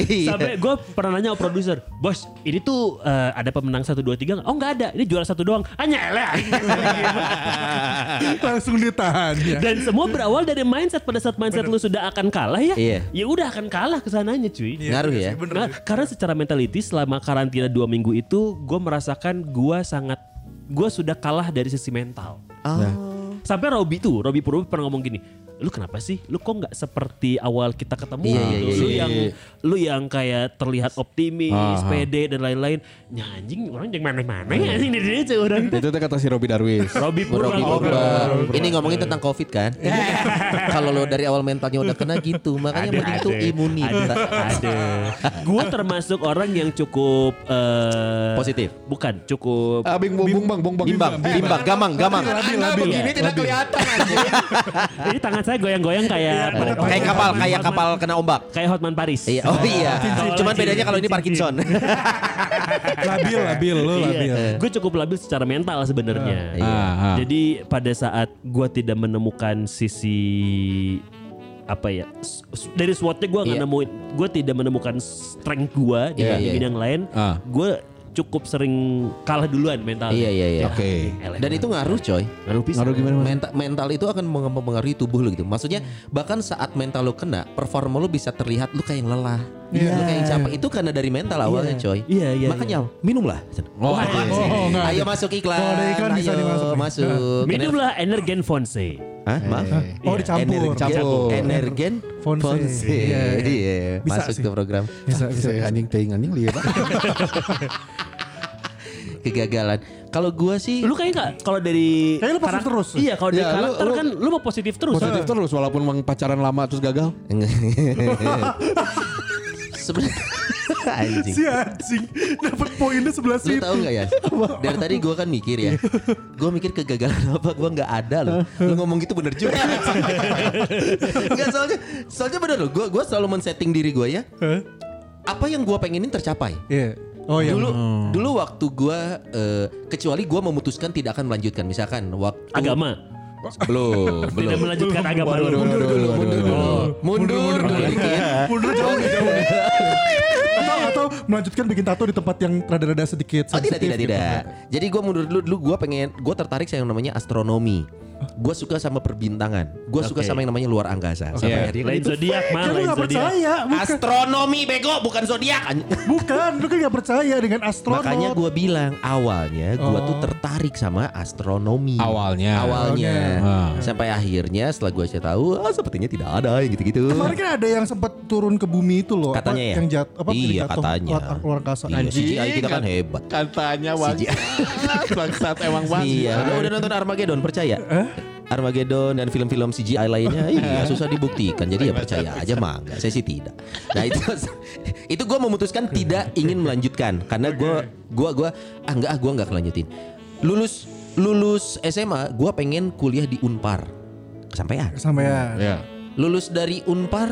Speaker 4: Iya.
Speaker 6: Sampai gue pernah nanya sama produser, bos ini tuh eh, ada pemenang 1, 2, 3 Oh nggak ada, ini juara satu doang. Hanya eleh.
Speaker 5: Langsung ditahan ya.
Speaker 6: Dan semua berawal dari mindset pada saat mindset lu sudah akan kalah ya.
Speaker 4: Iya.
Speaker 6: Ya udah akan kalah kesananya cuy.
Speaker 4: Ngaruh ya.
Speaker 6: Nah, karena secara mentality selama karantina dua minggu itu gue merasakan gue sangat gue sudah kalah dari sisi mental.
Speaker 4: Ah.
Speaker 6: Sampai Robi tuh, Robi Purwo pernah ngomong gini, lu kenapa sih? Lu kok nggak seperti awal kita ketemu
Speaker 4: Iya,
Speaker 6: gitu?
Speaker 4: iya,
Speaker 6: lu
Speaker 4: iya, Ah,
Speaker 6: yang lu yang kayak terlihat optimis, pede dan lain-lain. Ya anjing orang yang mana-mana ya anjing di dia cuy, orang tuh.
Speaker 3: Itu tuh kata si Robi Darwis.
Speaker 6: Robi Purwo.
Speaker 4: Iya. Robi Purba. Oh, Ini ngomongin tentang COVID kan?
Speaker 6: Iya.
Speaker 4: Kalau lo dari awal mentalnya udah kena gitu, makanya mending tuh
Speaker 6: Ada,
Speaker 4: imunitas.
Speaker 6: ada. Gue termasuk orang yang cukup eh,
Speaker 4: Positif?
Speaker 6: Bukan, cukup
Speaker 3: Ah, bing, bong, bong, bang, bong, bang.
Speaker 4: Bimbang, bimbang, gamang, gamang.
Speaker 1: Anda begini tidak kelihatan anjing.
Speaker 6: Ini tangan saya goyang-goyang kayak
Speaker 4: Kayak kapal, kayak kapal kena ombak.
Speaker 6: kayak Hotman Paris.
Speaker 4: Iya, oh iya.
Speaker 6: Cincin.
Speaker 4: Cuman bedanya kalau ini Parkinson.
Speaker 5: Labil, labil, lu labil.
Speaker 6: Gue cukup labil secara mental sebenarnya.
Speaker 4: Iya.
Speaker 3: Ah, ah.
Speaker 6: Jadi pada saat gue tidak menemukan sisi apa ya s- s- dari SWOT-nya gue nggak
Speaker 4: Iya.
Speaker 6: nemuin, gue tidak menemukan strength gue di
Speaker 4: Iya,
Speaker 6: di
Speaker 4: iya.
Speaker 6: bidang lain.
Speaker 3: Ah.
Speaker 6: Gue cukup sering kalah duluan mental.
Speaker 4: Iya, iya, iya.
Speaker 3: Oke.
Speaker 4: Dan itu ngaruh coy.
Speaker 6: ngaruh pisan.
Speaker 3: Ngaruh gimana? Mas?
Speaker 4: Mental, mental itu akan meng- mempengaruhi tubuh lo gitu. Maksudnya bahkan saat mental lo kena, performa lo bisa terlihat lu kayak yang lelah,
Speaker 5: Iya.
Speaker 4: lu kayak yang capek. Itu karena dari mental awalnya coy.
Speaker 6: Iya, iya,
Speaker 4: Makanya minumlah.
Speaker 3: Oh,
Speaker 5: Oh, enggak.
Speaker 4: ayo masuk iklan.
Speaker 5: Kalau ada iklan bisa
Speaker 4: ayo
Speaker 5: dimasuk.
Speaker 4: masuk.
Speaker 6: Minumlah Energen Fonse.
Speaker 4: Hah?
Speaker 6: Iya,
Speaker 4: Maaf.
Speaker 5: Oh, dicampur.
Speaker 4: Iya, Campur. Energen
Speaker 5: Iya. Fonse.
Speaker 4: Fonse.
Speaker 5: Iya, iya.
Speaker 4: Iya,
Speaker 5: Bisa
Speaker 4: masuk
Speaker 5: sih.
Speaker 4: ke program
Speaker 5: Bisa, bisa.
Speaker 3: Bisa Iya, anjing teing anjing lihat.
Speaker 4: kegagalan. Kalau gua sih
Speaker 6: Lu kayak nggak kalau dari
Speaker 5: Kayaknya lu positif
Speaker 6: karak-
Speaker 5: terus.
Speaker 6: Iya, kalau dari
Speaker 3: Iya, lu-
Speaker 6: karakter
Speaker 3: lu-
Speaker 6: kan lu mau positif terus.
Speaker 3: Positif terus walaupun emang pacaran lama terus gagal.
Speaker 4: sebenarnya anjing.
Speaker 5: Si anjing dapat poinnya sebelah
Speaker 4: Lu
Speaker 5: situ.
Speaker 4: tahu nggak ya? Dari tadi gua kan mikir ya. Gua mikir kegagalan apa gua nggak ada loh. Lu ngomong gitu bener juga. Enggak soalnya soalnya bener loh. Gua gua selalu men-setting diri gua ya. Apa yang gua pengenin tercapai.
Speaker 5: Iya. Oh iya.
Speaker 4: Dulu dulu waktu gua eh, kecuali gua memutuskan tidak akan melanjutkan misalkan waktu
Speaker 6: Ah, Agama.
Speaker 4: belum
Speaker 6: Tidak
Speaker 4: belum
Speaker 6: melanjutkan agama lu.
Speaker 3: Mundur dulu,
Speaker 4: mundur dulu mundur dulu mundur dulu dikit.
Speaker 5: Mundur jauh nih, jauh nih. atau, atau melanjutkan bikin tato di tempat yang rada-rada sedikit
Speaker 4: Oh tidak
Speaker 5: sensitif
Speaker 4: tidak
Speaker 5: gitu.
Speaker 4: tidak. Jadi gue mundur dulu dulu gue pengen gue tertarik sama yang namanya astronomi. Gue suka sama perbintangan. Gue suka
Speaker 6: Oke.
Speaker 4: sama yang namanya luar angkasa. Sampai
Speaker 3: Iya.
Speaker 4: akhirnya kan
Speaker 6: Lain
Speaker 4: itu-
Speaker 6: zodiak mah,
Speaker 5: Kan lu
Speaker 6: lain
Speaker 5: gak
Speaker 6: zodiak.
Speaker 5: percaya bukan,
Speaker 4: Astronomi bego bukan zodiak. anj-
Speaker 5: bukan Lu kan gak percaya dengan astronot Oh.
Speaker 4: Makanya gue bilang awalnya gue tuh tertarik sama astronomi.
Speaker 3: Awalnya.
Speaker 4: Awalnya.
Speaker 3: Ah.
Speaker 4: Sampai akhirnya setelah gue cari tahu, ah, sepertinya tidak ada yang gitu-gitu.
Speaker 5: Kemarin kan ada yang sempat turun ke bumi itu loh.
Speaker 4: Katanya
Speaker 5: apa,
Speaker 4: ya?
Speaker 5: Yang jat, apa
Speaker 4: Iya,
Speaker 5: pilih jatuh
Speaker 4: katanya.
Speaker 5: Keluar, keluar angkasa.
Speaker 4: Iya,
Speaker 5: Anjing.
Speaker 4: CGI kita kan hebat.
Speaker 1: Katanya
Speaker 4: CGI.
Speaker 1: bangsat. bangsat emang bangsat.
Speaker 4: Iya, lu udah nonton Armageddon percaya? Armageddon dan film-film CGI lainnya iya susah dibuktikan. Jadi ya percaya aja mah enggak. Saya sih tidak. Nah itu itu gue memutuskan tidak ingin melanjutkan karena gue gua gua ah enggak ah gue enggak kelanjutin. Lulus lulus SMA gue pengen kuliah di Unpar. Kesampaian.
Speaker 5: Sama ya.
Speaker 3: Iya.
Speaker 4: Lulus dari Unpar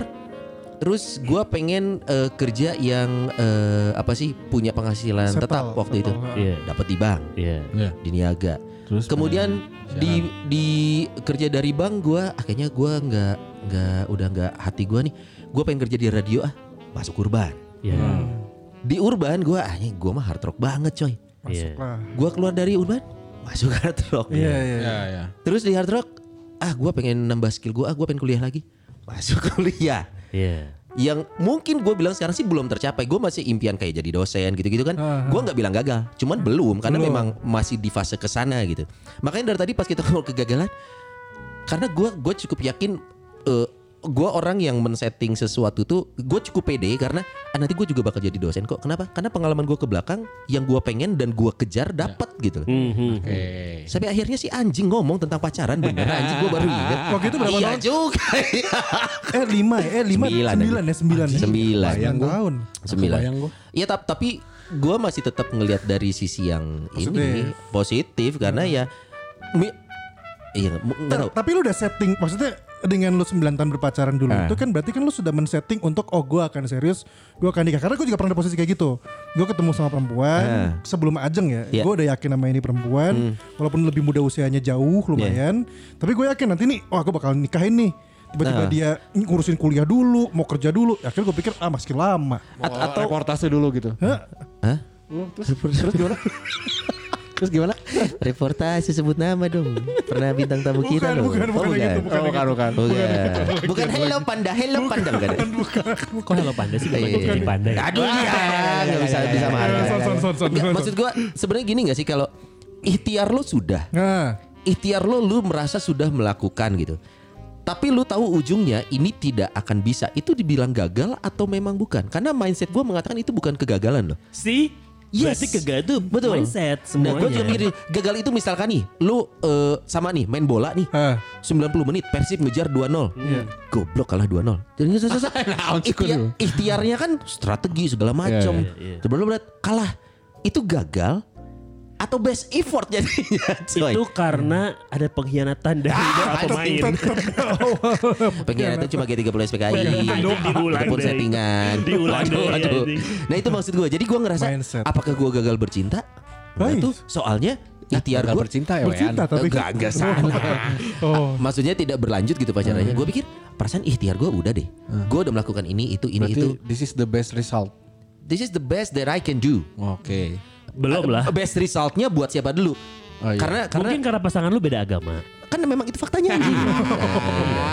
Speaker 4: terus gue pengen eh, kerja yang eh, apa sih punya penghasilan
Speaker 5: Settle,
Speaker 4: tetap waktu itu.
Speaker 5: settle.
Speaker 6: Iya.
Speaker 4: Dapat di bank
Speaker 6: Iya.
Speaker 4: di niaga.
Speaker 3: Terus
Speaker 4: Kemudian di di kerja dari bank gua akhirnya gua nggak nggak udah nggak hati gua nih. Gua pengen kerja di radio ah masuk urban.
Speaker 6: Iya.
Speaker 4: Hmm. Di urban gua ah ini gua mah hard rock banget coy.
Speaker 6: Iya.
Speaker 5: Masuklah.
Speaker 4: Gua keluar dari urban masuk hard rock.
Speaker 5: Iya, iya.
Speaker 3: Ya, ya.
Speaker 4: Terus di hard rock ah gua pengen nambah skill gua ah gua pengen kuliah lagi. Masuk kuliah
Speaker 6: Iya.
Speaker 4: yang mungkin gue bilang sekarang sih belum tercapai gue masih impian kayak jadi dosen gitu-gitu kan gue nggak bilang gagal cuman belum karena memang masih di fase kesana gitu makanya dari tadi pas kita ngomong kegagalan karena gue gue cukup yakin eh, gue orang yang men-setting sesuatu tuh gue cukup pede karena "Ah, nanti gue juga bakal jadi dosen kok kenapa karena pengalaman gue ke belakang yang gue pengen dan gue kejar dapat
Speaker 5: Ya.
Speaker 4: gitu loh.
Speaker 5: Hmm.
Speaker 6: Mhm.
Speaker 4: Sampai akhirnya si anjing ngomong tentang pacaran bener anjing gue baru ingat.
Speaker 5: Waktu itu berapa
Speaker 4: iya
Speaker 5: tahun?
Speaker 4: juga.
Speaker 5: Eh lima ya, eh lima,
Speaker 4: Sembilan,
Speaker 5: sembilan, ya, sembilan. ya.
Speaker 4: Sembilan.
Speaker 5: Sembilan tahun.
Speaker 4: sembilan.
Speaker 3: Kebayang gua.
Speaker 4: Iya tap- tapi gue masih tetap ngelihat dari sisi yang ini positif karena ya mi- iya mu- nggak tahu.
Speaker 5: Nah, Tapi lu udah setting, maksudnya dengan lu 9 tahun berpacaran dulu
Speaker 4: Eh.
Speaker 5: itu kan berarti kan lu sudah men-setting untuk oh gue akan serius, gue akan nikah. Karena gue juga pernah di posisi kayak gitu. Gue ketemu sama perempuan sebelum ajeng ya.
Speaker 4: Eh. Iya. Hmm.
Speaker 5: Gue udah yakin sama ini perempuan, walaupun lebih muda usianya jauh
Speaker 4: Iya.
Speaker 5: lumayan. Tapi gue yakin nanti nih, oh aku bakal nikahin nih. Tiba-tiba
Speaker 4: Nah.
Speaker 5: dia ngurusin kuliah dulu, mau kerja dulu. Akhirnya gue pikir ah masih lama.
Speaker 1: At- atau reportase dulu gitu.
Speaker 4: Hah?
Speaker 1: Uh, terus terus gimana? terus gimana?
Speaker 4: Reportase sebut nama dong. Pernah bintang tamu kita
Speaker 5: Bukan,
Speaker 4: loh.
Speaker 5: bukan, bukan
Speaker 4: Oh,
Speaker 5: yang itu,
Speaker 1: Oh, bukan bukan.
Speaker 4: Bukan. Bukan hello panda, hello panda bukan.
Speaker 6: Kok hello panda sih bukan
Speaker 4: Iya.
Speaker 6: jadi panda ya?
Speaker 4: Aduh, iya, nggak bisa
Speaker 5: Eh, son,
Speaker 4: disamakan.
Speaker 5: son, son, son,
Speaker 4: Nggak,
Speaker 5: son.
Speaker 4: Maksud gue sebenarnya gini nggak sih kalau ikhtiar lo sudah
Speaker 5: Nah,
Speaker 4: ikhtiar lo lu merasa sudah melakukan gitu tapi lu tahu ujungnya ini tidak akan bisa itu dibilang gagal atau memang bukan karena mindset gua mengatakan itu bukan kegagalan loh
Speaker 6: Si?
Speaker 4: Yes.
Speaker 6: Berarti kegagalan tuh
Speaker 4: Betul.
Speaker 6: mindset
Speaker 4: nah
Speaker 6: semuanya.
Speaker 4: gue juga mikir gagal itu misalkan nih lu eh, sama nih main bola nih
Speaker 5: Eh.
Speaker 4: 90 menit Persib ngejar 2-0
Speaker 6: Iya.
Speaker 4: goblok kalah 2-0 jadi nggak selesai
Speaker 6: Nah,
Speaker 4: Ikhtiar, ikhtiarnya kan strategi segala macam
Speaker 6: Iya,
Speaker 4: sebelum berat kalah itu gagal atau best effort jadinya coy.
Speaker 6: Itu karena ada pengkhianatan
Speaker 4: Ah,
Speaker 6: dari beberapa pemain.
Speaker 4: Pengkhianatan cuma G30 SPKI
Speaker 6: Diulang
Speaker 4: Ataupun
Speaker 6: deh.
Speaker 4: settingan
Speaker 6: Diulang
Speaker 4: Waduh,
Speaker 6: deh,
Speaker 4: waduh.
Speaker 6: anjing.
Speaker 4: Nah itu maksud gue Jadi gue ngerasa
Speaker 5: Mindset.
Speaker 4: Apakah gue gagal bercinta? Nah,
Speaker 5: Baik.
Speaker 4: itu soalnya Ikhtiar
Speaker 3: Gagal
Speaker 4: gue
Speaker 3: bercinta ya, Wean.
Speaker 5: bercinta tapi
Speaker 4: Gak, gak salah
Speaker 5: Oh. Hmm.
Speaker 4: Maksudnya tidak berlanjut gitu pacarannya Gue pikir Perasaan ikhtiar gue udah deh Gue udah melakukan ini Itu, ini,
Speaker 3: Berarti
Speaker 4: itu
Speaker 3: this is the best result.
Speaker 4: This is the best that I can do
Speaker 3: Oke.
Speaker 6: Belum lah.
Speaker 4: Best resultnya buat siapa dulu
Speaker 3: Oh, iya.
Speaker 4: Karena karena
Speaker 6: Mungkin karena pasangan lu beda agama.
Speaker 4: kan memang itu faktanya anjing.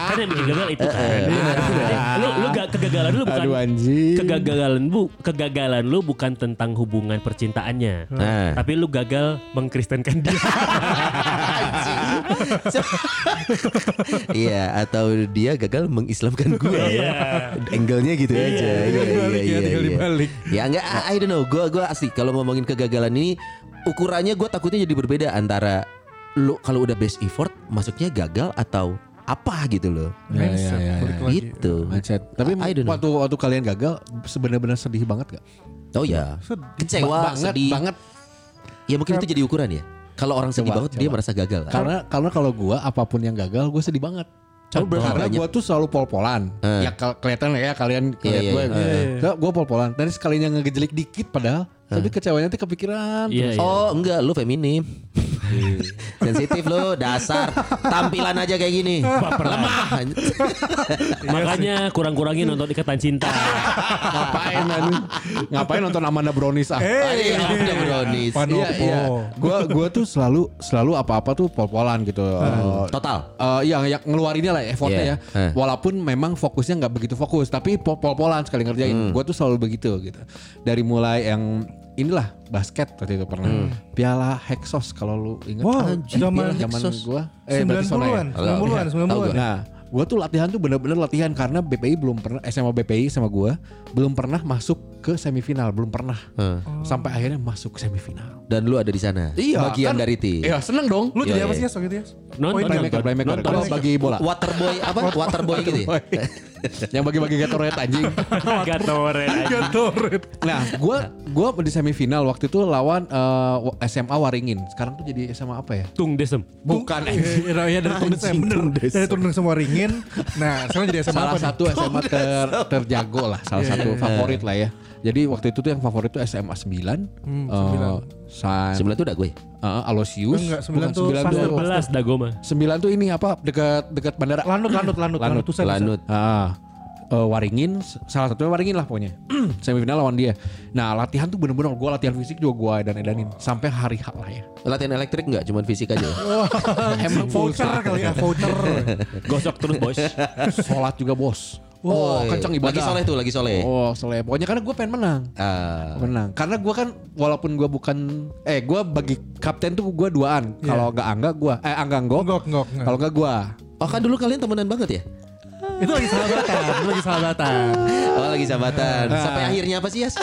Speaker 6: Kan yang bikin gagal
Speaker 3: Eh,
Speaker 6: itu kan. Lu lu gak kegagalan lu bukan
Speaker 3: Aduh anjing.
Speaker 6: kegagalan bu kegagalan lu bukan tentang hubungan percintaannya.
Speaker 3: Eh.
Speaker 4: Nah.
Speaker 6: Tapi lu gagal mengkristenkan dia.
Speaker 4: Iya atau dia gagal mengislamkan gue.
Speaker 6: Iya.
Speaker 4: Angle-nya gitu aja. Iya iya
Speaker 5: ya,
Speaker 4: iya.
Speaker 5: tinggal
Speaker 4: iya.
Speaker 5: dibalik.
Speaker 4: Ya enggak I I don't know. Gue gue asli kalau ngomongin kegagalan ini ukurannya gue takutnya jadi berbeda antara lu kalau udah best effort maksudnya gagal atau apa gitu loh.
Speaker 5: Iya,
Speaker 3: Ya, ya, ya, ya.
Speaker 5: Balik lagi.
Speaker 4: Gitu.
Speaker 3: Mindset. Tapi
Speaker 4: I don't know.
Speaker 3: waktu waktu kalian gagal sebenarnya sedih banget gak?
Speaker 4: Oh ya. Kecewa
Speaker 3: Ba- banget,
Speaker 4: sedih.
Speaker 3: banget.
Speaker 4: Ya mungkin itu jadi ukuran ya. Kalau orang sedih
Speaker 3: Coba,
Speaker 4: banget dia
Speaker 3: coba.
Speaker 4: merasa gagal.
Speaker 3: Karena karena kalau gua apapun yang gagal gua sedih banget.
Speaker 4: Contoh.
Speaker 3: karena gua tuh selalu pol-polan. Ya ke- kelihatan lah ya kalian
Speaker 4: Eh. Iya,
Speaker 3: lihat
Speaker 4: iya,
Speaker 3: gua.
Speaker 4: iya. Eh.
Speaker 3: So, gua pol-polan. Dari sekalinya ngegejelik dikit padahal tapi kecewanya tuh kepikiran. terus.
Speaker 6: Iya, iya.
Speaker 4: Oh enggak lu feminim. Sensitif lo dasar tampilan aja kayak gini. Lemah.
Speaker 6: Makanya kurang-kurangin nonton Ikatan Cinta.
Speaker 3: Ngapain man? Ngapain nonton Amanda Brownies ah?
Speaker 5: Eh,
Speaker 4: Tadi yang udah brownies.
Speaker 5: Panopo.
Speaker 3: Iya, iya. Gua gua tuh selalu selalu apa-apa tuh pol-polan gitu. Eh,
Speaker 4: Total.
Speaker 3: Eh, iya, yang ngeluarinnya lah effortnya
Speaker 4: Iya.
Speaker 3: ya.
Speaker 4: Eh.
Speaker 3: Walaupun memang fokusnya nggak begitu fokus, tapi po- pol-polan sekali ngerjain. Gue tuh selalu begitu gitu. Dari mulai yang inilah basket waktu itu pernah. Piala Hexos kalau lu ingat.
Speaker 5: Wow,
Speaker 3: Anjir,
Speaker 5: zaman
Speaker 3: Hmm. piala zaman
Speaker 4: Hexos.
Speaker 3: gua eh berarti Sona ya.
Speaker 5: 90-an, 90-an,
Speaker 4: Tahu gua.
Speaker 5: 90-an.
Speaker 3: Nah, gue tuh latihan tuh bener-bener latihan karena BPI belum pernah SMA BPI sama gue belum pernah masuk ke semifinal, belum pernah. Sampai akhirnya masuk ke semifinal.
Speaker 4: Dan lu ada di sana.
Speaker 3: kan-
Speaker 4: Bagian dari tim.
Speaker 3: Iya, seneng dong.
Speaker 5: Lu
Speaker 4: Iya,
Speaker 5: jadi apa
Speaker 4: iya.
Speaker 5: sih ya waktu itu ya?
Speaker 6: Nonton,
Speaker 5: Poin
Speaker 3: playmaker,
Speaker 6: nonton,
Speaker 3: playmaker.
Speaker 6: nonton.
Speaker 3: Kalau bagi bola,
Speaker 4: Waterboy apa? Waterboy gitu ya?
Speaker 3: yang bagi-bagi Gatorade anjing.
Speaker 6: Gatorade.
Speaker 5: Gatorade.
Speaker 3: Nah, gue gua di semifinal waktu itu lawan eh, SMA Waringin. Sekarang tuh jadi SMA apa ya?
Speaker 6: Tung Desem.
Speaker 3: Bukan anjing.
Speaker 5: Iya, iya, dari turun saya bener. Dari turun semua ringin. Nah, sekarang jadi SMA
Speaker 3: salah
Speaker 5: apa nih? Iya,
Speaker 3: satu SMA ter, terjago lah, salah satu favorit lah ya. Jadi waktu itu tuh yang favorit tuh SMA 9,
Speaker 5: Hmm,
Speaker 3: eh,
Speaker 5: sembilan.
Speaker 3: San,
Speaker 4: Sebelah itu udah gue.
Speaker 3: eh, Alosius, Bukan,
Speaker 5: Enggak, sembilan tuh
Speaker 3: sembilan
Speaker 5: Pasteur.
Speaker 3: tuh,
Speaker 6: 11 Dagoma.
Speaker 3: sembilan tuh ini apa dekat dekat bandara.
Speaker 5: Lanut, lanut, lanut,
Speaker 3: Lanut,
Speaker 5: lanut, Tusan,
Speaker 4: Lanut.
Speaker 3: Ah, eh, Waringin, s- salah satunya Waringin lah pokoknya. Semifinal lawan dia. Nah latihan tuh bener-bener gue latihan fisik juga gue dan edanin sampai hari H lah ya.
Speaker 4: Latihan elektrik nggak? Cuman fisik aja. ya?
Speaker 3: Oh,
Speaker 5: Tusan. Voucher kali ya, voucher.
Speaker 6: Gosok terus bos.
Speaker 3: Sholat juga bos.
Speaker 4: Oh,
Speaker 3: Oh, kencang ibadah.
Speaker 4: Lagi soleh tuh, lagi soleh.
Speaker 3: Oh, soleh. Pokoknya karena gue pengen menang.
Speaker 4: Ah.
Speaker 3: Menang. Karena gue kan walaupun gue bukan eh gue bagi kapten tuh gue duaan. Kalau nggak angga gue eh angga nggok.
Speaker 5: Iya. Ngok, ngok, ngok.
Speaker 3: Kalau nggak gue.
Speaker 4: Oh kan dulu kalian temenan banget ya?
Speaker 5: Itu lagi sahabatan, itu lagi sahabatan.
Speaker 4: Oh lagi sahabatan.
Speaker 3: Nah.
Speaker 4: Sampai akhirnya apa sih Yas?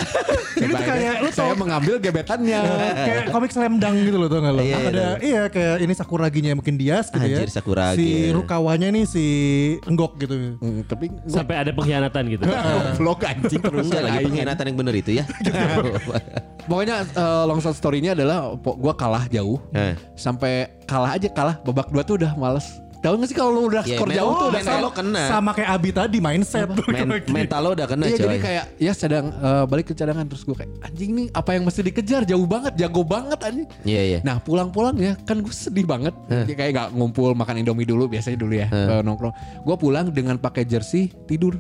Speaker 5: Ini tuh kayak Kan lu tau Iya.
Speaker 3: saya mengambil gebetannya.
Speaker 5: kayak komik slam dunk gitu loh tau gak lo
Speaker 4: Iya, iya,
Speaker 5: ada
Speaker 4: tahu.
Speaker 5: iya kayak ini sakuraginya mungkin Dias gitu ya
Speaker 4: Anjir, Sakuragi.
Speaker 5: si rukawanya nih si enggok gitu
Speaker 3: Hmm, tapi gue
Speaker 6: Sampai ada pengkhianatan gitu.
Speaker 5: Ah.
Speaker 3: vlog anjing terus.
Speaker 4: Enggak lagi
Speaker 3: Aing.
Speaker 4: pengkhianatan yang bener itu ya.
Speaker 3: Pokoknya eh, long story story-nya adalah po- gua kalah jauh.
Speaker 4: Eh.
Speaker 3: Sampai kalah aja kalah babak dua tuh udah males. Tahu gak sih kalau lu udah
Speaker 4: Iya,
Speaker 3: skor
Speaker 4: men-
Speaker 3: jauh tuh
Speaker 4: oh,
Speaker 3: udah
Speaker 4: mental lo kena.
Speaker 5: sama kayak Abi tadi mindset
Speaker 4: Men mental lo udah kena
Speaker 3: Iya
Speaker 4: Nah, coy.
Speaker 3: jadi kayak ya sedang eh, balik ke cadangan terus gue kayak anjing nih apa yang mesti dikejar jauh banget jago banget anjing.
Speaker 4: Iya iya.
Speaker 3: Nah pulang-pulang ya kan gue sedih banget Ya, kayak nggak ngumpul makan indomie dulu biasanya dulu ya eh, nongkrong. Gue pulang dengan pakai jersey tidur.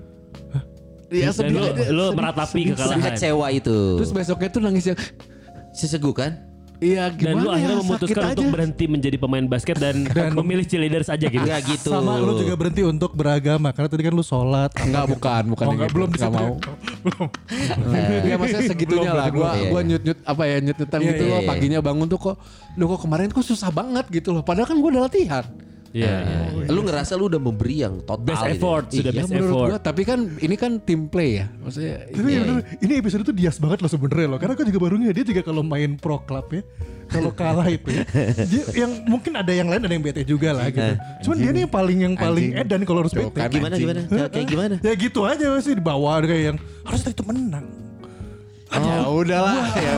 Speaker 3: Iya
Speaker 6: Dan lu,
Speaker 3: aja,
Speaker 6: lu
Speaker 3: sedih.
Speaker 6: meratapi kekalahan.
Speaker 4: Sekecewa itu.
Speaker 3: Terus besoknya tuh nangis yang
Speaker 4: Sesegu kan?
Speaker 3: iya
Speaker 6: Dan
Speaker 3: gimana
Speaker 6: lu
Speaker 3: ya
Speaker 6: akhirnya memutuskan
Speaker 3: sakit
Speaker 6: untuk
Speaker 3: aja.
Speaker 6: berhenti menjadi pemain basket dan, memilih cheerleaders aja gitu.
Speaker 3: Iya.
Speaker 4: Enggak gitu.
Speaker 5: sama lu juga berhenti untuk beragama karena tadi kan lu sholat
Speaker 3: Enggak bukan bukan
Speaker 5: Oh,
Speaker 3: yang
Speaker 5: enggak,
Speaker 3: gitu.
Speaker 5: belum
Speaker 3: Nggak
Speaker 5: disebut.
Speaker 3: mau. Iya maksudnya segitunya
Speaker 5: Belum,
Speaker 3: lah. Gua
Speaker 4: Eh.
Speaker 5: belum,
Speaker 4: belum.
Speaker 3: gua
Speaker 4: Iya, iya.
Speaker 3: nyut nyut apa ya nyut nyutan
Speaker 5: Iya,
Speaker 3: gitu
Speaker 4: iya,
Speaker 3: loh.
Speaker 4: iya.
Speaker 3: Paginya bangun tuh kok, lu kok kemarin kok susah banget gitu loh. Padahal kan gua udah latihan. Oh,
Speaker 6: Iya, iya.
Speaker 4: Lu ngerasa lu udah memberi yang total
Speaker 6: Best
Speaker 4: gitu.
Speaker 6: effort, sudah
Speaker 3: Iya,
Speaker 6: best
Speaker 3: menurut
Speaker 6: effort.
Speaker 3: gua. Tapi kan ini kan tim play ya. Maksudnya
Speaker 5: Tapi bener, ini episode tuh Dias banget loh sebenernya loh Karena gue juga baru ngeh, dia juga kalau main pro club ya Kalau kalah itu ya dia, yang Mungkin ada yang lain ada yang bete juga lah gitu Cuman dia nih yang paling yang paling
Speaker 3: Anjing.
Speaker 5: edan kalau harus
Speaker 3: Tuh,
Speaker 5: bete
Speaker 3: kan
Speaker 4: Gimana
Speaker 3: anjing.
Speaker 4: gimana? Kayak kayak gimana?
Speaker 5: Ya gitu aja sih di bawah ada kayak yang harus itu menang
Speaker 3: Ya udahlah ya.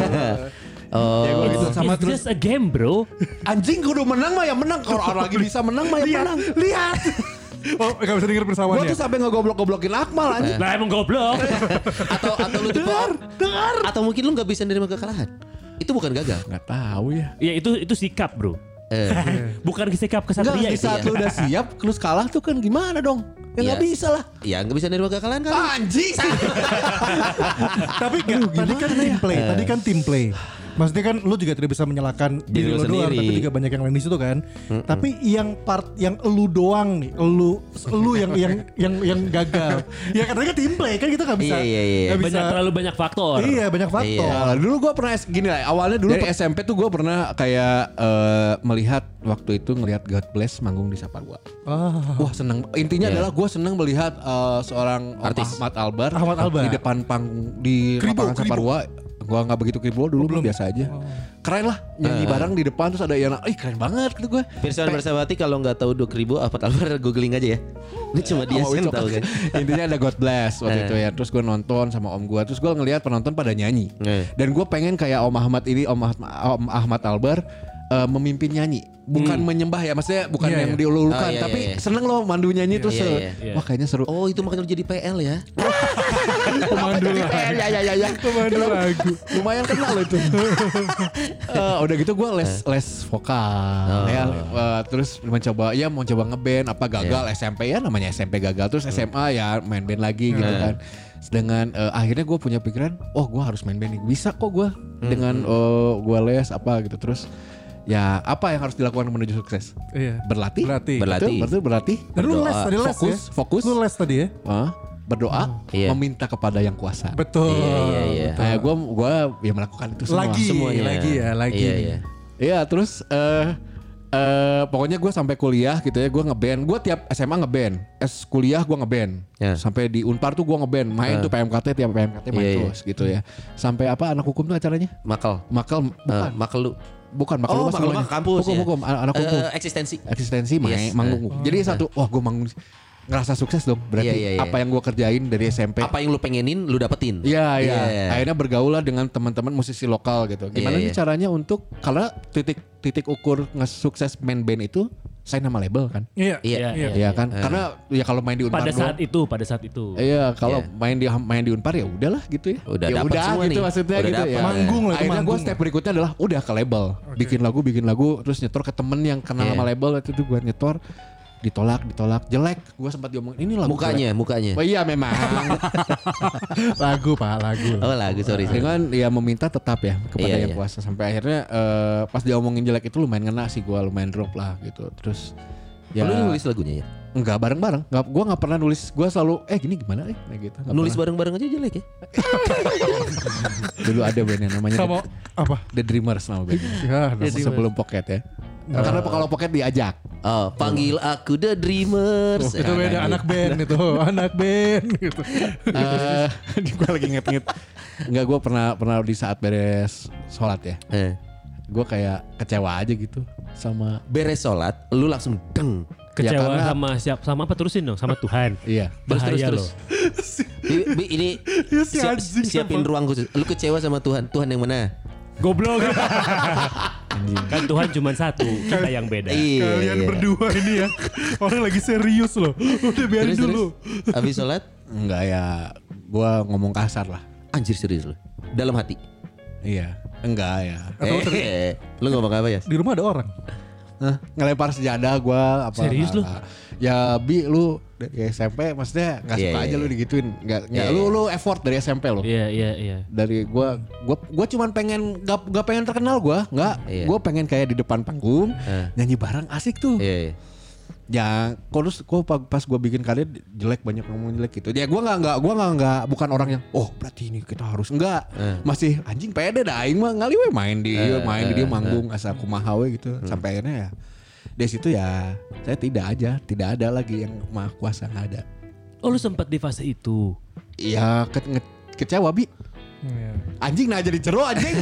Speaker 4: Oh.
Speaker 3: Ya gua gitu sama
Speaker 5: Iya,
Speaker 6: It's
Speaker 3: terus
Speaker 6: just a game bro.
Speaker 3: anjing kudu menang mah ya menang kalau orang lagi bisa menang mah ya menang.
Speaker 5: Lihat Oh gak bisa denger
Speaker 3: Gua
Speaker 5: persawaannya
Speaker 3: tuh sampai ngegoblok-goblokin Akmal anjing.
Speaker 6: Nah emang goblok.
Speaker 4: Atau atau lu tipe Atau mungkin lu nggak bisa nerima kekalahan. Itu bukan gagal.
Speaker 3: Enggak tahu ya.
Speaker 6: ya itu itu sikap bro.
Speaker 4: Eh.
Speaker 6: Bukan sikap
Speaker 3: Enggak
Speaker 6: kesatria
Speaker 3: di
Speaker 6: itu. ya.
Speaker 3: saat lu udah siap terus kalah tuh kan gimana dong? Ya enggak
Speaker 4: Iya.
Speaker 3: bisa lah. Ah.
Speaker 4: Ya nggak bisa nerima kekalahan kan.
Speaker 3: Anjing.
Speaker 5: Tapi nggak, tadi kan tim play,
Speaker 4: ya.
Speaker 5: tadi kan tim play. Maksudnya kan lu juga tidak bisa menyalahkan
Speaker 4: Diri
Speaker 5: diri
Speaker 4: lu
Speaker 5: lu doang,
Speaker 4: sendiri.
Speaker 5: tapi juga banyak yang lain di situ kan. Tapi yang part yang elu doang nih, elu elu yang yang yang yang gagal. ya katanya kan tim play kan kita nggak bisa.
Speaker 4: Iya, iya, iya.
Speaker 5: nggak bisa.
Speaker 6: Banyak terlalu banyak faktor.
Speaker 5: Iya banyak faktor.
Speaker 4: Iya.
Speaker 3: Nah, dulu gue pernah es- gini lah awalnya dulu dari SMP tuh gue pernah kayak eh, melihat waktu itu ngelihat God Bless manggung di Saparua.
Speaker 5: Ah.
Speaker 3: Wah seneng intinya adalah gue seneng melihat eh, seorang
Speaker 4: Iya. Artis.
Speaker 3: Ahmad Albar
Speaker 5: Ahmad Albar.
Speaker 3: di depan panggung di
Speaker 5: Kribo,
Speaker 3: lapangan
Speaker 5: kribo.
Speaker 3: Saparua. Gue nggak begitu kribo dulu mah biasa aja.
Speaker 5: Oh.
Speaker 3: Keren lah
Speaker 4: Eh.
Speaker 3: nyanyi bareng di depan terus ada Yana. Ih keren banget gitu gue.
Speaker 4: Pirsawan Bersawati kalau nggak tahu 2000 apa Alvar googling aja ya. Ini cuma dia
Speaker 3: Oh,
Speaker 4: sih yang tahu kan.
Speaker 3: Intinya ada God Bless
Speaker 4: Eh.
Speaker 3: waktu itu ya. Terus gue nonton sama om gue. Terus gue ngelihat penonton pada nyanyi.
Speaker 4: Eh.
Speaker 3: Dan gue pengen kayak Om Ahmad ini, Om Ahmad, om Ahmad Albar eh, memimpin nyanyi bukan menyembah ya maksudnya bukan
Speaker 5: Iya,
Speaker 3: yang
Speaker 5: iya.
Speaker 3: diululukan
Speaker 4: Hmm. Oh, iya,
Speaker 3: tapi
Speaker 4: iya, iya.
Speaker 3: seneng loh mandu nyanyi terus
Speaker 4: iya,
Speaker 3: eh,
Speaker 4: iya,
Speaker 6: iya.
Speaker 3: wah kayaknya seru
Speaker 4: Oh itu makanya lu jadi PL ya?
Speaker 1: Pemandu lagu.
Speaker 3: ya ya ya ya
Speaker 1: Pemandu lagu.
Speaker 3: lumayan kenal loh itu Eh, udah gitu gue les les vokal ya eh, terus mencoba ya mau coba ngeband apa gagal SMP ya namanya SMP gagal terus SMA ya main band lagi gitu kan dengan eh, akhirnya gue punya pikiran oh gue harus main band nih bisa kok gue dengan gue les apa gitu terus ya apa yang harus dilakukan menuju sukses
Speaker 5: Iya.
Speaker 3: berlatih
Speaker 5: Berlatih.
Speaker 4: Berlatih.
Speaker 3: berarti berarti berlatih
Speaker 5: Dan lu
Speaker 4: Berdoa.
Speaker 5: les tadi les
Speaker 3: Fokus,
Speaker 5: ya?
Speaker 3: fokus.
Speaker 5: Lu les tadi ya?
Speaker 3: eh, berdoa
Speaker 4: Iya.
Speaker 3: meminta kepada yang kuasa
Speaker 5: Betul.
Speaker 4: Iya, iya, iya.
Speaker 5: betul.
Speaker 3: Nah, gue gua ya melakukan itu semua.
Speaker 5: Lagi,
Speaker 4: semuanya.
Speaker 5: lagi ya, lagi.
Speaker 4: Iya, iya.
Speaker 3: Iya terus eh eh, pokoknya gue sampai kuliah gitu ya gue ngeband gue tiap SMA ngeband es kuliah gue ngeband
Speaker 4: Ya. Eh.
Speaker 3: sampai di Unpar tuh gue ngeband main tuh PMKT tiap PMKT main
Speaker 4: Iya, iya.
Speaker 3: terus gitu ya sampai apa anak hukum tuh acaranya
Speaker 4: Makal.
Speaker 3: makal
Speaker 4: Eh,
Speaker 3: bukan
Speaker 4: makal lu.
Speaker 3: bukan makal
Speaker 4: oh,
Speaker 3: luas
Speaker 4: makal lu
Speaker 3: namanya.
Speaker 4: mah kampus
Speaker 3: hukum
Speaker 4: ya.
Speaker 3: hukum an- anak
Speaker 4: Eh,
Speaker 3: hukum
Speaker 4: eksistensi.
Speaker 3: eksistensi main
Speaker 4: Yes. eh.
Speaker 3: manggung jadi satu wah gue manggung ngerasa sukses dong berarti
Speaker 4: Iya, iya, iya.
Speaker 3: apa yang gue kerjain dari SMP
Speaker 4: Apa yang lu pengenin lu dapetin.
Speaker 3: Iya, iya.
Speaker 4: Iya.
Speaker 3: Akhirnya bergaul lah dengan teman-teman musisi lokal gitu. Gimana nih
Speaker 4: Iya, iya.
Speaker 3: caranya untuk karena titik titik ukur ngesukses main band itu sign sama label kan?
Speaker 5: Iya.
Speaker 4: Iya.
Speaker 5: Iya.
Speaker 3: Iya kan? Karena ya kalau main di Unpar
Speaker 6: Ya, Pada
Speaker 3: doang-
Speaker 6: saat itu, pada saat itu.
Speaker 3: Iya, kalau
Speaker 4: Iya.
Speaker 3: main di main di Unpar ya udahlah gitu ya.
Speaker 4: Udah
Speaker 3: ya
Speaker 4: dapet semua
Speaker 3: gitu
Speaker 4: nih.
Speaker 3: maksudnya
Speaker 4: Udah
Speaker 3: gitu
Speaker 4: dapet.
Speaker 3: ya.
Speaker 5: Manggung lah, itu
Speaker 3: Akhirnya gue
Speaker 5: manggung.
Speaker 3: step berikutnya adalah udah ke label, bikin lagu, bikin lagu, terus nyetor ke temen yang kenal
Speaker 4: Iya.
Speaker 3: sama label itu tuh gue nyetor ditolak, ditolak, jelek. Gue sempat diomongin ini lagu jelek."
Speaker 4: Mukanya, mukanya.
Speaker 3: Oh, iya memang.
Speaker 5: Lagu Pak, lagu.
Speaker 4: Oh lagu sorry. sorry.
Speaker 3: dengan ya meminta tetap ya kepada
Speaker 4: Iya,
Speaker 3: yang
Speaker 4: iya.
Speaker 3: kuasa sampai akhirnya eh, pas dia omongin jelek itu lumayan ngena sih gua lumayan drop lah gitu terus ya
Speaker 4: Lu nulis lagunya ya?
Speaker 3: nggak bareng bareng nggak gua nggak pernah nulis gua selalu eh gini gimana eh nah, gitu Nggak
Speaker 4: Nulis
Speaker 3: pernah.
Speaker 4: bareng-bareng aja jelek ya?
Speaker 3: dulu ada band yang namanya
Speaker 5: Sama
Speaker 3: The,
Speaker 5: apa?
Speaker 3: The Dreamers nama bandnya
Speaker 5: Ya, nama
Speaker 3: Nama sebelum Pocket ya
Speaker 4: Nah.
Speaker 3: karena kalau Pocket diajak
Speaker 4: Oh, panggil aku The Dreamers.
Speaker 5: Oh, itu
Speaker 4: Eh,
Speaker 5: beda
Speaker 4: lagi.
Speaker 5: anak band itu, anak band gitu.
Speaker 4: Iya.
Speaker 3: Eh, gua lagi nget-nget nggak gua pernah pernah di saat beres sholat ya
Speaker 4: Eh,
Speaker 3: gua kayak kecewa aja gitu sama
Speaker 4: Beres sholat, lu langsung deng.
Speaker 3: ya
Speaker 6: Kecewa
Speaker 3: karena-
Speaker 6: sama siap sama apa terusin dong sama Tuhan.
Speaker 3: iya
Speaker 4: Terus, terus,
Speaker 6: Bahaya
Speaker 4: terus.
Speaker 6: loh.
Speaker 4: Bi, bi, ini
Speaker 5: si
Speaker 4: siap-
Speaker 5: anjing
Speaker 4: siapin ruang khusus. Lu kecewa sama Tuhan. Tuhan yang mana?
Speaker 6: Goblok. kan Tuhan cuma satu, kita yang beda.
Speaker 4: Iya.
Speaker 5: Kalian berdua ini ya, orang lagi serius loh. Udah biarin
Speaker 4: Terus, terus.
Speaker 5: dulu.
Speaker 4: Habis sholat,
Speaker 3: Enggak ya, gua ngomong kasar lah.
Speaker 4: anjir serius lu. Dalam hati.
Speaker 3: Iya, enggak ya.
Speaker 4: Eh, lu ngomong apa ya?
Speaker 5: Di rumah ada orang.
Speaker 3: Hah? Eh, Ngelempar sejadah gua apa?
Speaker 6: Serius lu?
Speaker 3: enggak. Ya bi lu ya, dari SMP maksudnya nggak
Speaker 4: Iya,
Speaker 3: suka
Speaker 4: iya,
Speaker 3: aja lu
Speaker 4: iya.
Speaker 3: digituin. Enggak enggak
Speaker 4: Iya,
Speaker 3: lu
Speaker 4: iya.
Speaker 3: lu effort dari SMP lo.
Speaker 6: Iya, iya, iya.
Speaker 3: Dari gua gua gua cuman pengen gak, gak pengen terkenal gua, enggak.
Speaker 4: Iya.
Speaker 3: Gua pengen kayak di depan panggung
Speaker 4: Eh.
Speaker 3: nyanyi bareng asik tuh.
Speaker 4: Iya, iya.
Speaker 3: Ya, kok terus gua pa- pas gua bikin kalian jelek banyak ngomong jelek gitu. Ya gua nggak nggak gua nggak nggak bukan orang yang oh berarti ini kita harus enggak. Masih anjing pede dah aing mah ngali we main di main di dia manggung asal kumaha we gitu. Sampai akhirnya ya dari situ ya saya tidak aja, tidak ada lagi yang maha kuasa nggak ada.
Speaker 6: Oh lu sempat di fase itu.
Speaker 3: Ya ke, nge- kecewa bi
Speaker 5: Iya.
Speaker 3: anjing nah jadi ceru anjing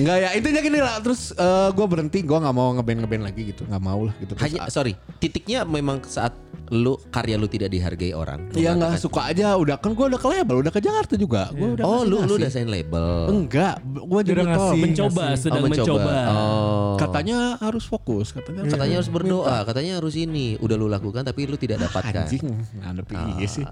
Speaker 3: nggak ya intinya gini lah terus eh, gua berhenti gua nggak mau ngeband ngeband lagi gitu nggak mau lah gitu Terus
Speaker 4: Hanya sorry, titiknya memang saat lu karya lu tidak dihargai orang. Lu
Speaker 3: Iya nggak
Speaker 4: mengatakan,
Speaker 3: suka aja udah kan gue udah ke label udah ke Jakarta juga gue udah
Speaker 4: Oh, lu lu
Speaker 3: ngasih-ngasih.
Speaker 4: udah sign label.
Speaker 3: enggak gue jadi
Speaker 5: Udah
Speaker 3: tol.
Speaker 5: ngasih.
Speaker 3: Men-
Speaker 6: Mencoba,
Speaker 4: Oh,
Speaker 6: sedang mencoba.
Speaker 4: Oh.
Speaker 3: katanya harus fokus katanya
Speaker 4: Katanya harus berdoa, katanya harus ini. Udah lu lakukan tapi lu tidak
Speaker 3: Ah,
Speaker 4: dapatkan.
Speaker 3: anjing ngadepi
Speaker 4: Ah.
Speaker 3: iya sih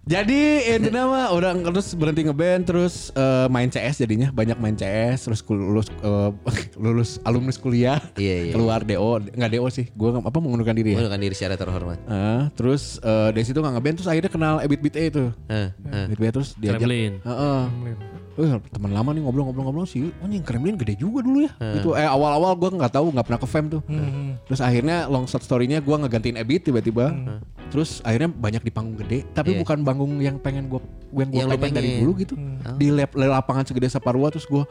Speaker 3: jadi intinya mah udah terus berhenti ngeband terus eh, main CS jadinya banyak main CS terus ku- lulus eh, lulus alumnus kuliah
Speaker 4: Iya, iya.
Speaker 3: keluar DO nggak DO sih gue apa mengundurkan diri ya
Speaker 4: Mengundurkan Iya. diri secara terhormat.
Speaker 3: Eh, terus eh, dari situ nggak ngeband terus akhirnya kenal Ebit Bit A itu
Speaker 4: Heeh. heeh.
Speaker 3: Duit bayar Iya. terus diajak.
Speaker 6: Kremlin.
Speaker 3: Heeh. Eh, teman lama nih ngobrol-ngobrol-ngobrol sih. Oh, yang Kremlin gede juga dulu ya. Gitu. Eh awal-awal gua nggak tahu, nggak pernah ke fam tuh.
Speaker 6: Hmm.
Speaker 3: Terus akhirnya long shot story-nya gua ngegantiin Ebit tiba-tiba. Terus akhirnya banyak di panggung gede, tapi
Speaker 4: Eh. Iya.
Speaker 3: bukan panggung yang pengen gua yang gua
Speaker 4: Yang lu
Speaker 3: pengen, dari
Speaker 4: pengen. Oh.
Speaker 3: dulu gitu.
Speaker 6: Hmm.
Speaker 3: Di lap- lapangan segede Saparua terus gua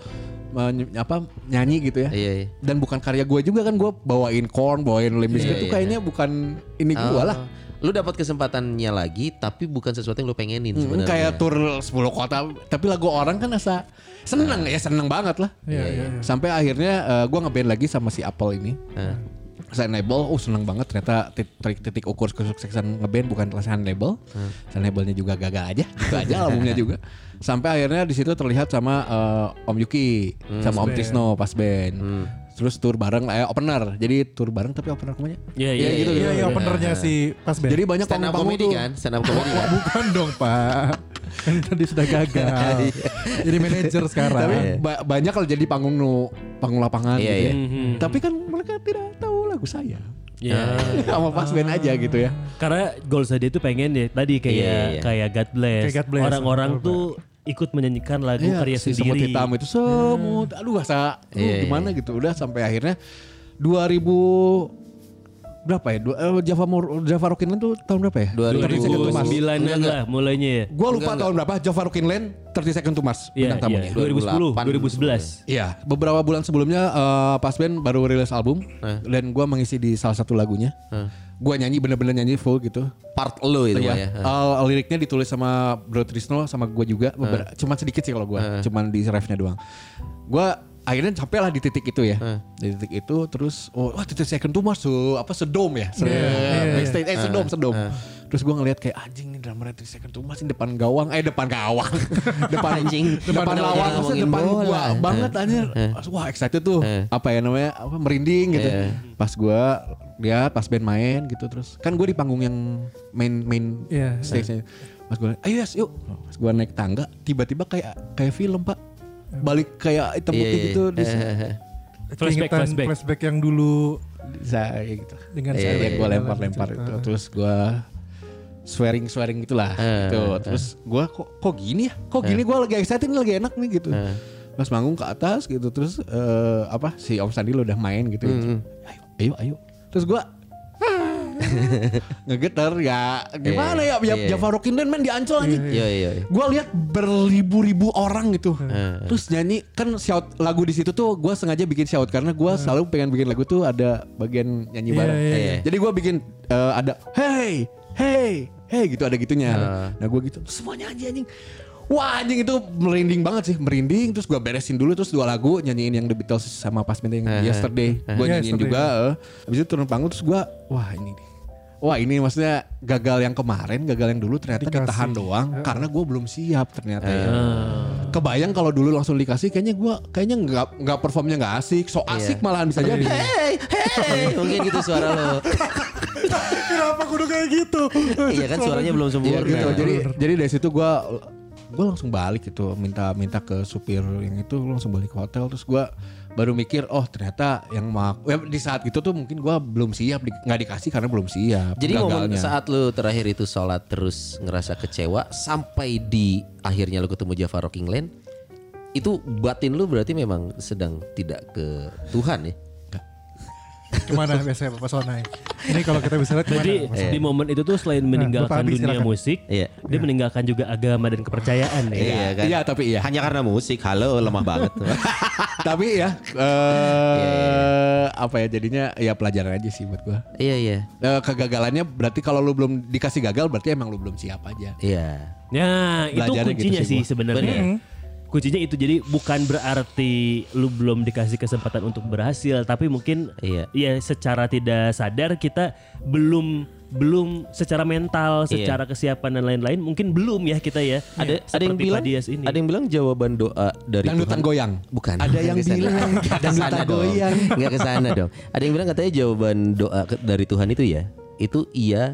Speaker 3: eh, ny- apa nyanyi gitu ya.
Speaker 4: Iya, iya.
Speaker 3: Dan bukan karya gua juga kan gua bawain corn, bawain limbis
Speaker 4: Iya,
Speaker 3: itu
Speaker 4: iya,
Speaker 3: kayaknya bukan ini gua
Speaker 4: Oh.
Speaker 3: lah.
Speaker 4: Lu dapat kesempatannya lagi tapi bukan sesuatu yang lu pengenin
Speaker 3: Hmm,
Speaker 4: sebenarnya.
Speaker 3: kayak tur 10 kota tapi lagu orang kan asa seneng ya seneng banget lah
Speaker 5: Nah. Iya, iya, iya.
Speaker 3: sampai akhirnya eh, gua ngeband lagi sama si Apple ini
Speaker 4: Heeh.
Speaker 5: Nah.
Speaker 3: saya label oh seneng banget ternyata tit- titik, titik ukur kesuksesan ngeband bukan kelesahan label
Speaker 5: Nah.
Speaker 3: Sign labelnya juga gagal aja itu aja albumnya juga
Speaker 5: Hmm.
Speaker 3: sampai akhirnya di situ terlihat sama eh, Om Yuki sama Om Tisno pas band terus tour bareng lah, eh, opener. Jadi tour bareng tapi opener kemana?
Speaker 6: Iya, iya,
Speaker 3: Iya, gitu.
Speaker 5: Iya, iya,
Speaker 3: gitu.
Speaker 5: openernya si Pas Band.
Speaker 3: Jadi banyak
Speaker 4: stand up
Speaker 3: panggung-panggung
Speaker 4: comedy
Speaker 3: tuh.
Speaker 4: kan stand up comedy kan
Speaker 3: Bukan dong pak Kan tadi sudah gagal
Speaker 4: Iya.
Speaker 3: Jadi manajer sekarang Tapi ba- banyak kalau jadi panggung nu Panggung lapangan
Speaker 4: Iya,
Speaker 3: gitu
Speaker 4: iya.
Speaker 3: ya
Speaker 6: Mhm.
Speaker 3: Tapi kan mereka tidak tahu lagu saya
Speaker 6: Iya.
Speaker 3: Sama pas band aja gitu ya
Speaker 6: Karena goals dia itu pengen ya tadi kayak
Speaker 4: Iya, iya.
Speaker 6: kayak God Bless.
Speaker 5: Kayak God Bless.
Speaker 6: Orang-orang tuh ikut menyanyikan lagu
Speaker 3: Iya,
Speaker 6: karya
Speaker 3: si semut
Speaker 6: sendiri.
Speaker 3: hitam itu semut Aduh rasa aduh,
Speaker 4: Iya, iya.
Speaker 3: gimana gitu Udah sampai akhirnya 2000 Berapa ya Dua- eh, Java, Mor- Java Rockinland tuh tahun berapa ya
Speaker 4: 2000.
Speaker 3: 30 Second to Mars
Speaker 6: 2009 an lah mulainya ya.
Speaker 3: Gue lupa tahun berapa Java Rockinland 30 Second to Mars
Speaker 6: Iya,
Speaker 3: bintang tamunya.
Speaker 6: iya. 2010,
Speaker 4: 2008,
Speaker 6: 2011.
Speaker 3: Iya, beberapa bulan sebelumnya eh, Pas Band baru rilis album
Speaker 4: Hah?
Speaker 3: dan gua mengisi di salah satu lagunya. Gua nyanyi bener-bener nyanyi full gitu.
Speaker 4: part lo itu ya,
Speaker 3: Iya. Al- liriknya ditulis sama Bro Trisno sama gua juga. Beber- Cuman sedikit sih kalau gua, cuman di refnya doang. Gua akhirnya sampailah di titik itu ya. Di titik itu terus oh wah titik second tuh masuk apa sedom ya. Sedom. Backstage eh sedom sedom. Terus gua ngeliat kayak anjing nih drummer Titik second tuh masih depan gawang eh depan gawang. depan
Speaker 4: Anjing.
Speaker 3: depan lawan
Speaker 4: Kenapa jadi
Speaker 3: maksudnya
Speaker 4: ngomongin
Speaker 3: depan gua
Speaker 4: bola?
Speaker 3: banget anjir.
Speaker 4: eh,
Speaker 3: Wah excited tuh. Apa ya namanya? Apa merinding gitu.
Speaker 4: Eh.
Speaker 3: Pas gua lihat pas band main gitu terus kan gue di panggung yang main main
Speaker 5: Iya.
Speaker 3: stage-nya. Mas gue, ayo yes, yuk. Mas gue naik tangga, tiba-tiba kayak kayak film pak, balik kayak hitam
Speaker 4: Iya,
Speaker 3: putih
Speaker 4: iya.
Speaker 3: gitu, di
Speaker 6: Flashback,
Speaker 5: Keingetan
Speaker 6: flashback.
Speaker 5: flashback yang dulu
Speaker 3: saya gitu.
Speaker 5: dengan
Speaker 4: Iya,
Speaker 5: saya
Speaker 4: iya,
Speaker 3: Yang gue lempar-lempar itu, terus gue swearing swearing gitulah,
Speaker 4: Eh,
Speaker 3: gitu. Terus gue kok kok gini ya, kok gini gue lagi excited, lagi enak nih gitu. Mas manggung ke atas gitu, terus eh, apa si Om Sandi lo udah main gitu, ayo ayo ayo. Terus gue ngegeter ya gimana ya ya
Speaker 4: Iya, iya.
Speaker 3: Java Rockin' Man di Ancol anjing
Speaker 4: Iya iya. iya.
Speaker 3: gue lihat berribu-ribu orang gitu terus nyanyi kan shout lagu di situ tuh gue sengaja bikin shout karena gue selalu pengen bikin lagu tuh ada bagian nyanyi
Speaker 5: Iya,
Speaker 3: bareng
Speaker 5: iya,
Speaker 4: iya.
Speaker 3: jadi gue bikin eh, ada hey hey hey gitu ada gitunya nah gue gitu semuanya anjing anjing Wah anjing itu merinding banget sih Merinding terus gue beresin dulu Terus dua lagu Nyanyiin yang The Beatles sama pas minta yang Yesterday Gue nyanyiin
Speaker 5: Iya, Yesterday.
Speaker 3: juga eh. Habis itu turun panggung Terus gue Wah ini nih Wah ini maksudnya gagal yang kemarin, gagal yang dulu ternyata
Speaker 5: Dikasih.
Speaker 3: ditahan doang karena gue belum siap ternyata. ya. Kebayang kalau dulu langsung dikasih, kayaknya gue kayaknya nggak nggak performnya nggak asik, so asik malahan bisa
Speaker 5: Iya.
Speaker 3: jadi.
Speaker 4: Hey, hey, mungkin gitu suara lo.
Speaker 5: Kenapa kudu kayak gitu?
Speaker 4: Iya kan suaranya belum
Speaker 3: Iya,
Speaker 4: sempurna.
Speaker 3: gitu. Jadi jadi dari situ gue gue langsung balik gitu, minta minta ke supir yang itu gua langsung balik ke hotel terus gue baru mikir oh ternyata yang mak ya, di saat itu tuh mungkin gue belum siap di- nggak dikasih karena belum siap.
Speaker 4: Jadi momen
Speaker 3: gagalnya.
Speaker 4: saat lu terakhir itu sholat terus ngerasa kecewa sampai di akhirnya lu ketemu Java Rocking Land itu batin lu berarti memang sedang tidak ke Tuhan ya.
Speaker 5: Kemana biasanya Pak Sonai? Ini kalau kita bisa lihat kemana?
Speaker 6: Jadi
Speaker 5: Pak Sonai?
Speaker 6: di momen itu tuh selain
Speaker 4: Nah,
Speaker 6: meninggalkan
Speaker 5: Abi,
Speaker 6: dunia
Speaker 5: silakan.
Speaker 6: musik,
Speaker 4: Iya.
Speaker 6: dia meninggalkan juga agama dan kepercayaan ya.
Speaker 4: kan?
Speaker 3: Iya, tapi iya.
Speaker 4: Hanya karena musik. Halo lemah banget.
Speaker 3: Tapi ya
Speaker 4: Iya,
Speaker 3: eh apa ya jadinya ya pelajaran aja sih buat gue.
Speaker 4: iya iya.
Speaker 3: Eh, kegagalannya berarti kalau lu belum dikasih gagal berarti emang lu belum siap aja.
Speaker 4: Iya.
Speaker 6: Nah, itu
Speaker 3: Belajarnya gitu
Speaker 6: kuncinya
Speaker 3: sih
Speaker 6: sih
Speaker 3: gua.
Speaker 6: sebenarnya. Kuncinya itu jadi bukan berarti lu belum dikasih kesempatan untuk berhasil, tapi mungkin
Speaker 4: Iya.
Speaker 6: ya secara tidak sadar kita belum belum secara mental,
Speaker 4: Iya.
Speaker 6: secara kesiapan dan lain-lain mungkin belum ya kita ya.
Speaker 4: Ada ada yang
Speaker 6: Seperti
Speaker 4: bilang
Speaker 6: Pak Dias ini.
Speaker 4: ada yang bilang jawaban doa dari
Speaker 3: Dangdutan
Speaker 4: Tuhan.
Speaker 3: goyang.
Speaker 4: Bukan.
Speaker 3: Ada yang
Speaker 4: Kesana.
Speaker 3: bilang
Speaker 4: Nggak
Speaker 3: dangdutan
Speaker 4: kesana dong.
Speaker 3: goyang.
Speaker 4: Nggak kesana dong. Ada yang bilang katanya jawaban doa ke- dari Tuhan itu ya, itu iya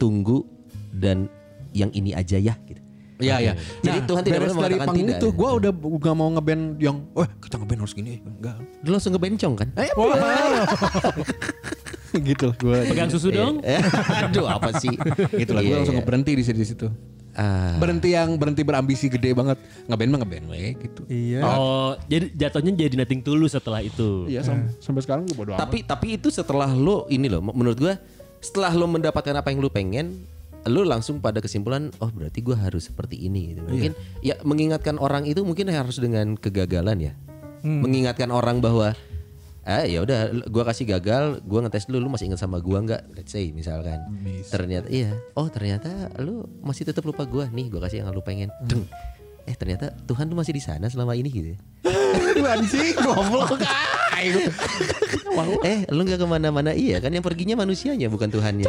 Speaker 4: tunggu dan yang ini aja ya. Gitu.
Speaker 3: Iya iya.
Speaker 4: Jadi Tuhan tidak
Speaker 3: beres
Speaker 4: pernah
Speaker 3: dari
Speaker 4: mengatakan
Speaker 3: panggung
Speaker 4: tidak. ya?
Speaker 3: itu gue udah nggak mau ngeband yang wah kita ngeband harus gini enggak.
Speaker 4: Lu langsung kebencong kan? Eh,
Speaker 3: gitu lah gue.
Speaker 6: pegang susu
Speaker 4: Iya.
Speaker 6: dong.
Speaker 4: Aduh apa sih?
Speaker 3: Gitu lah gue
Speaker 4: Iya,
Speaker 3: langsung
Speaker 4: iya.
Speaker 3: berhenti di situ di situ.
Speaker 4: Ah.
Speaker 3: Berhenti yang berhenti berambisi gede banget ngeband mah ngeband weh gitu.
Speaker 5: Iya.
Speaker 6: Oh, jadi jatuhnya jadi nothing tulus setelah itu.
Speaker 3: Iya sam- sampai sekarang gue bodo amat.
Speaker 4: Tapi tapi itu setelah lo ini loh menurut gua setelah lo mendapatkan apa yang lo pengen lo langsung pada kesimpulan oh berarti gua harus seperti ini
Speaker 3: Iya.
Speaker 4: gitu. Mungkin ya mengingatkan orang itu mungkin harus dengan kegagalan ya.
Speaker 3: Hmm.
Speaker 4: Mengingatkan orang bahwa ah ya udah l- gua kasih gagal, gua ngetes dulu lu masih ingat sama gua nggak? Let's say misalkan. Ternyata iya. Oh, ternyata lu masih tetap lupa gua. Nih gua kasih yang lu pengen.
Speaker 3: Hmm.
Speaker 4: Deng. Eh ternyata Tuhan lu masih di sana selama ini gitu ya.
Speaker 3: anjing goblok. Ayo.
Speaker 4: Eh, lu nggak kemana-mana iya kan yang perginya manusianya bukan Tuhannya.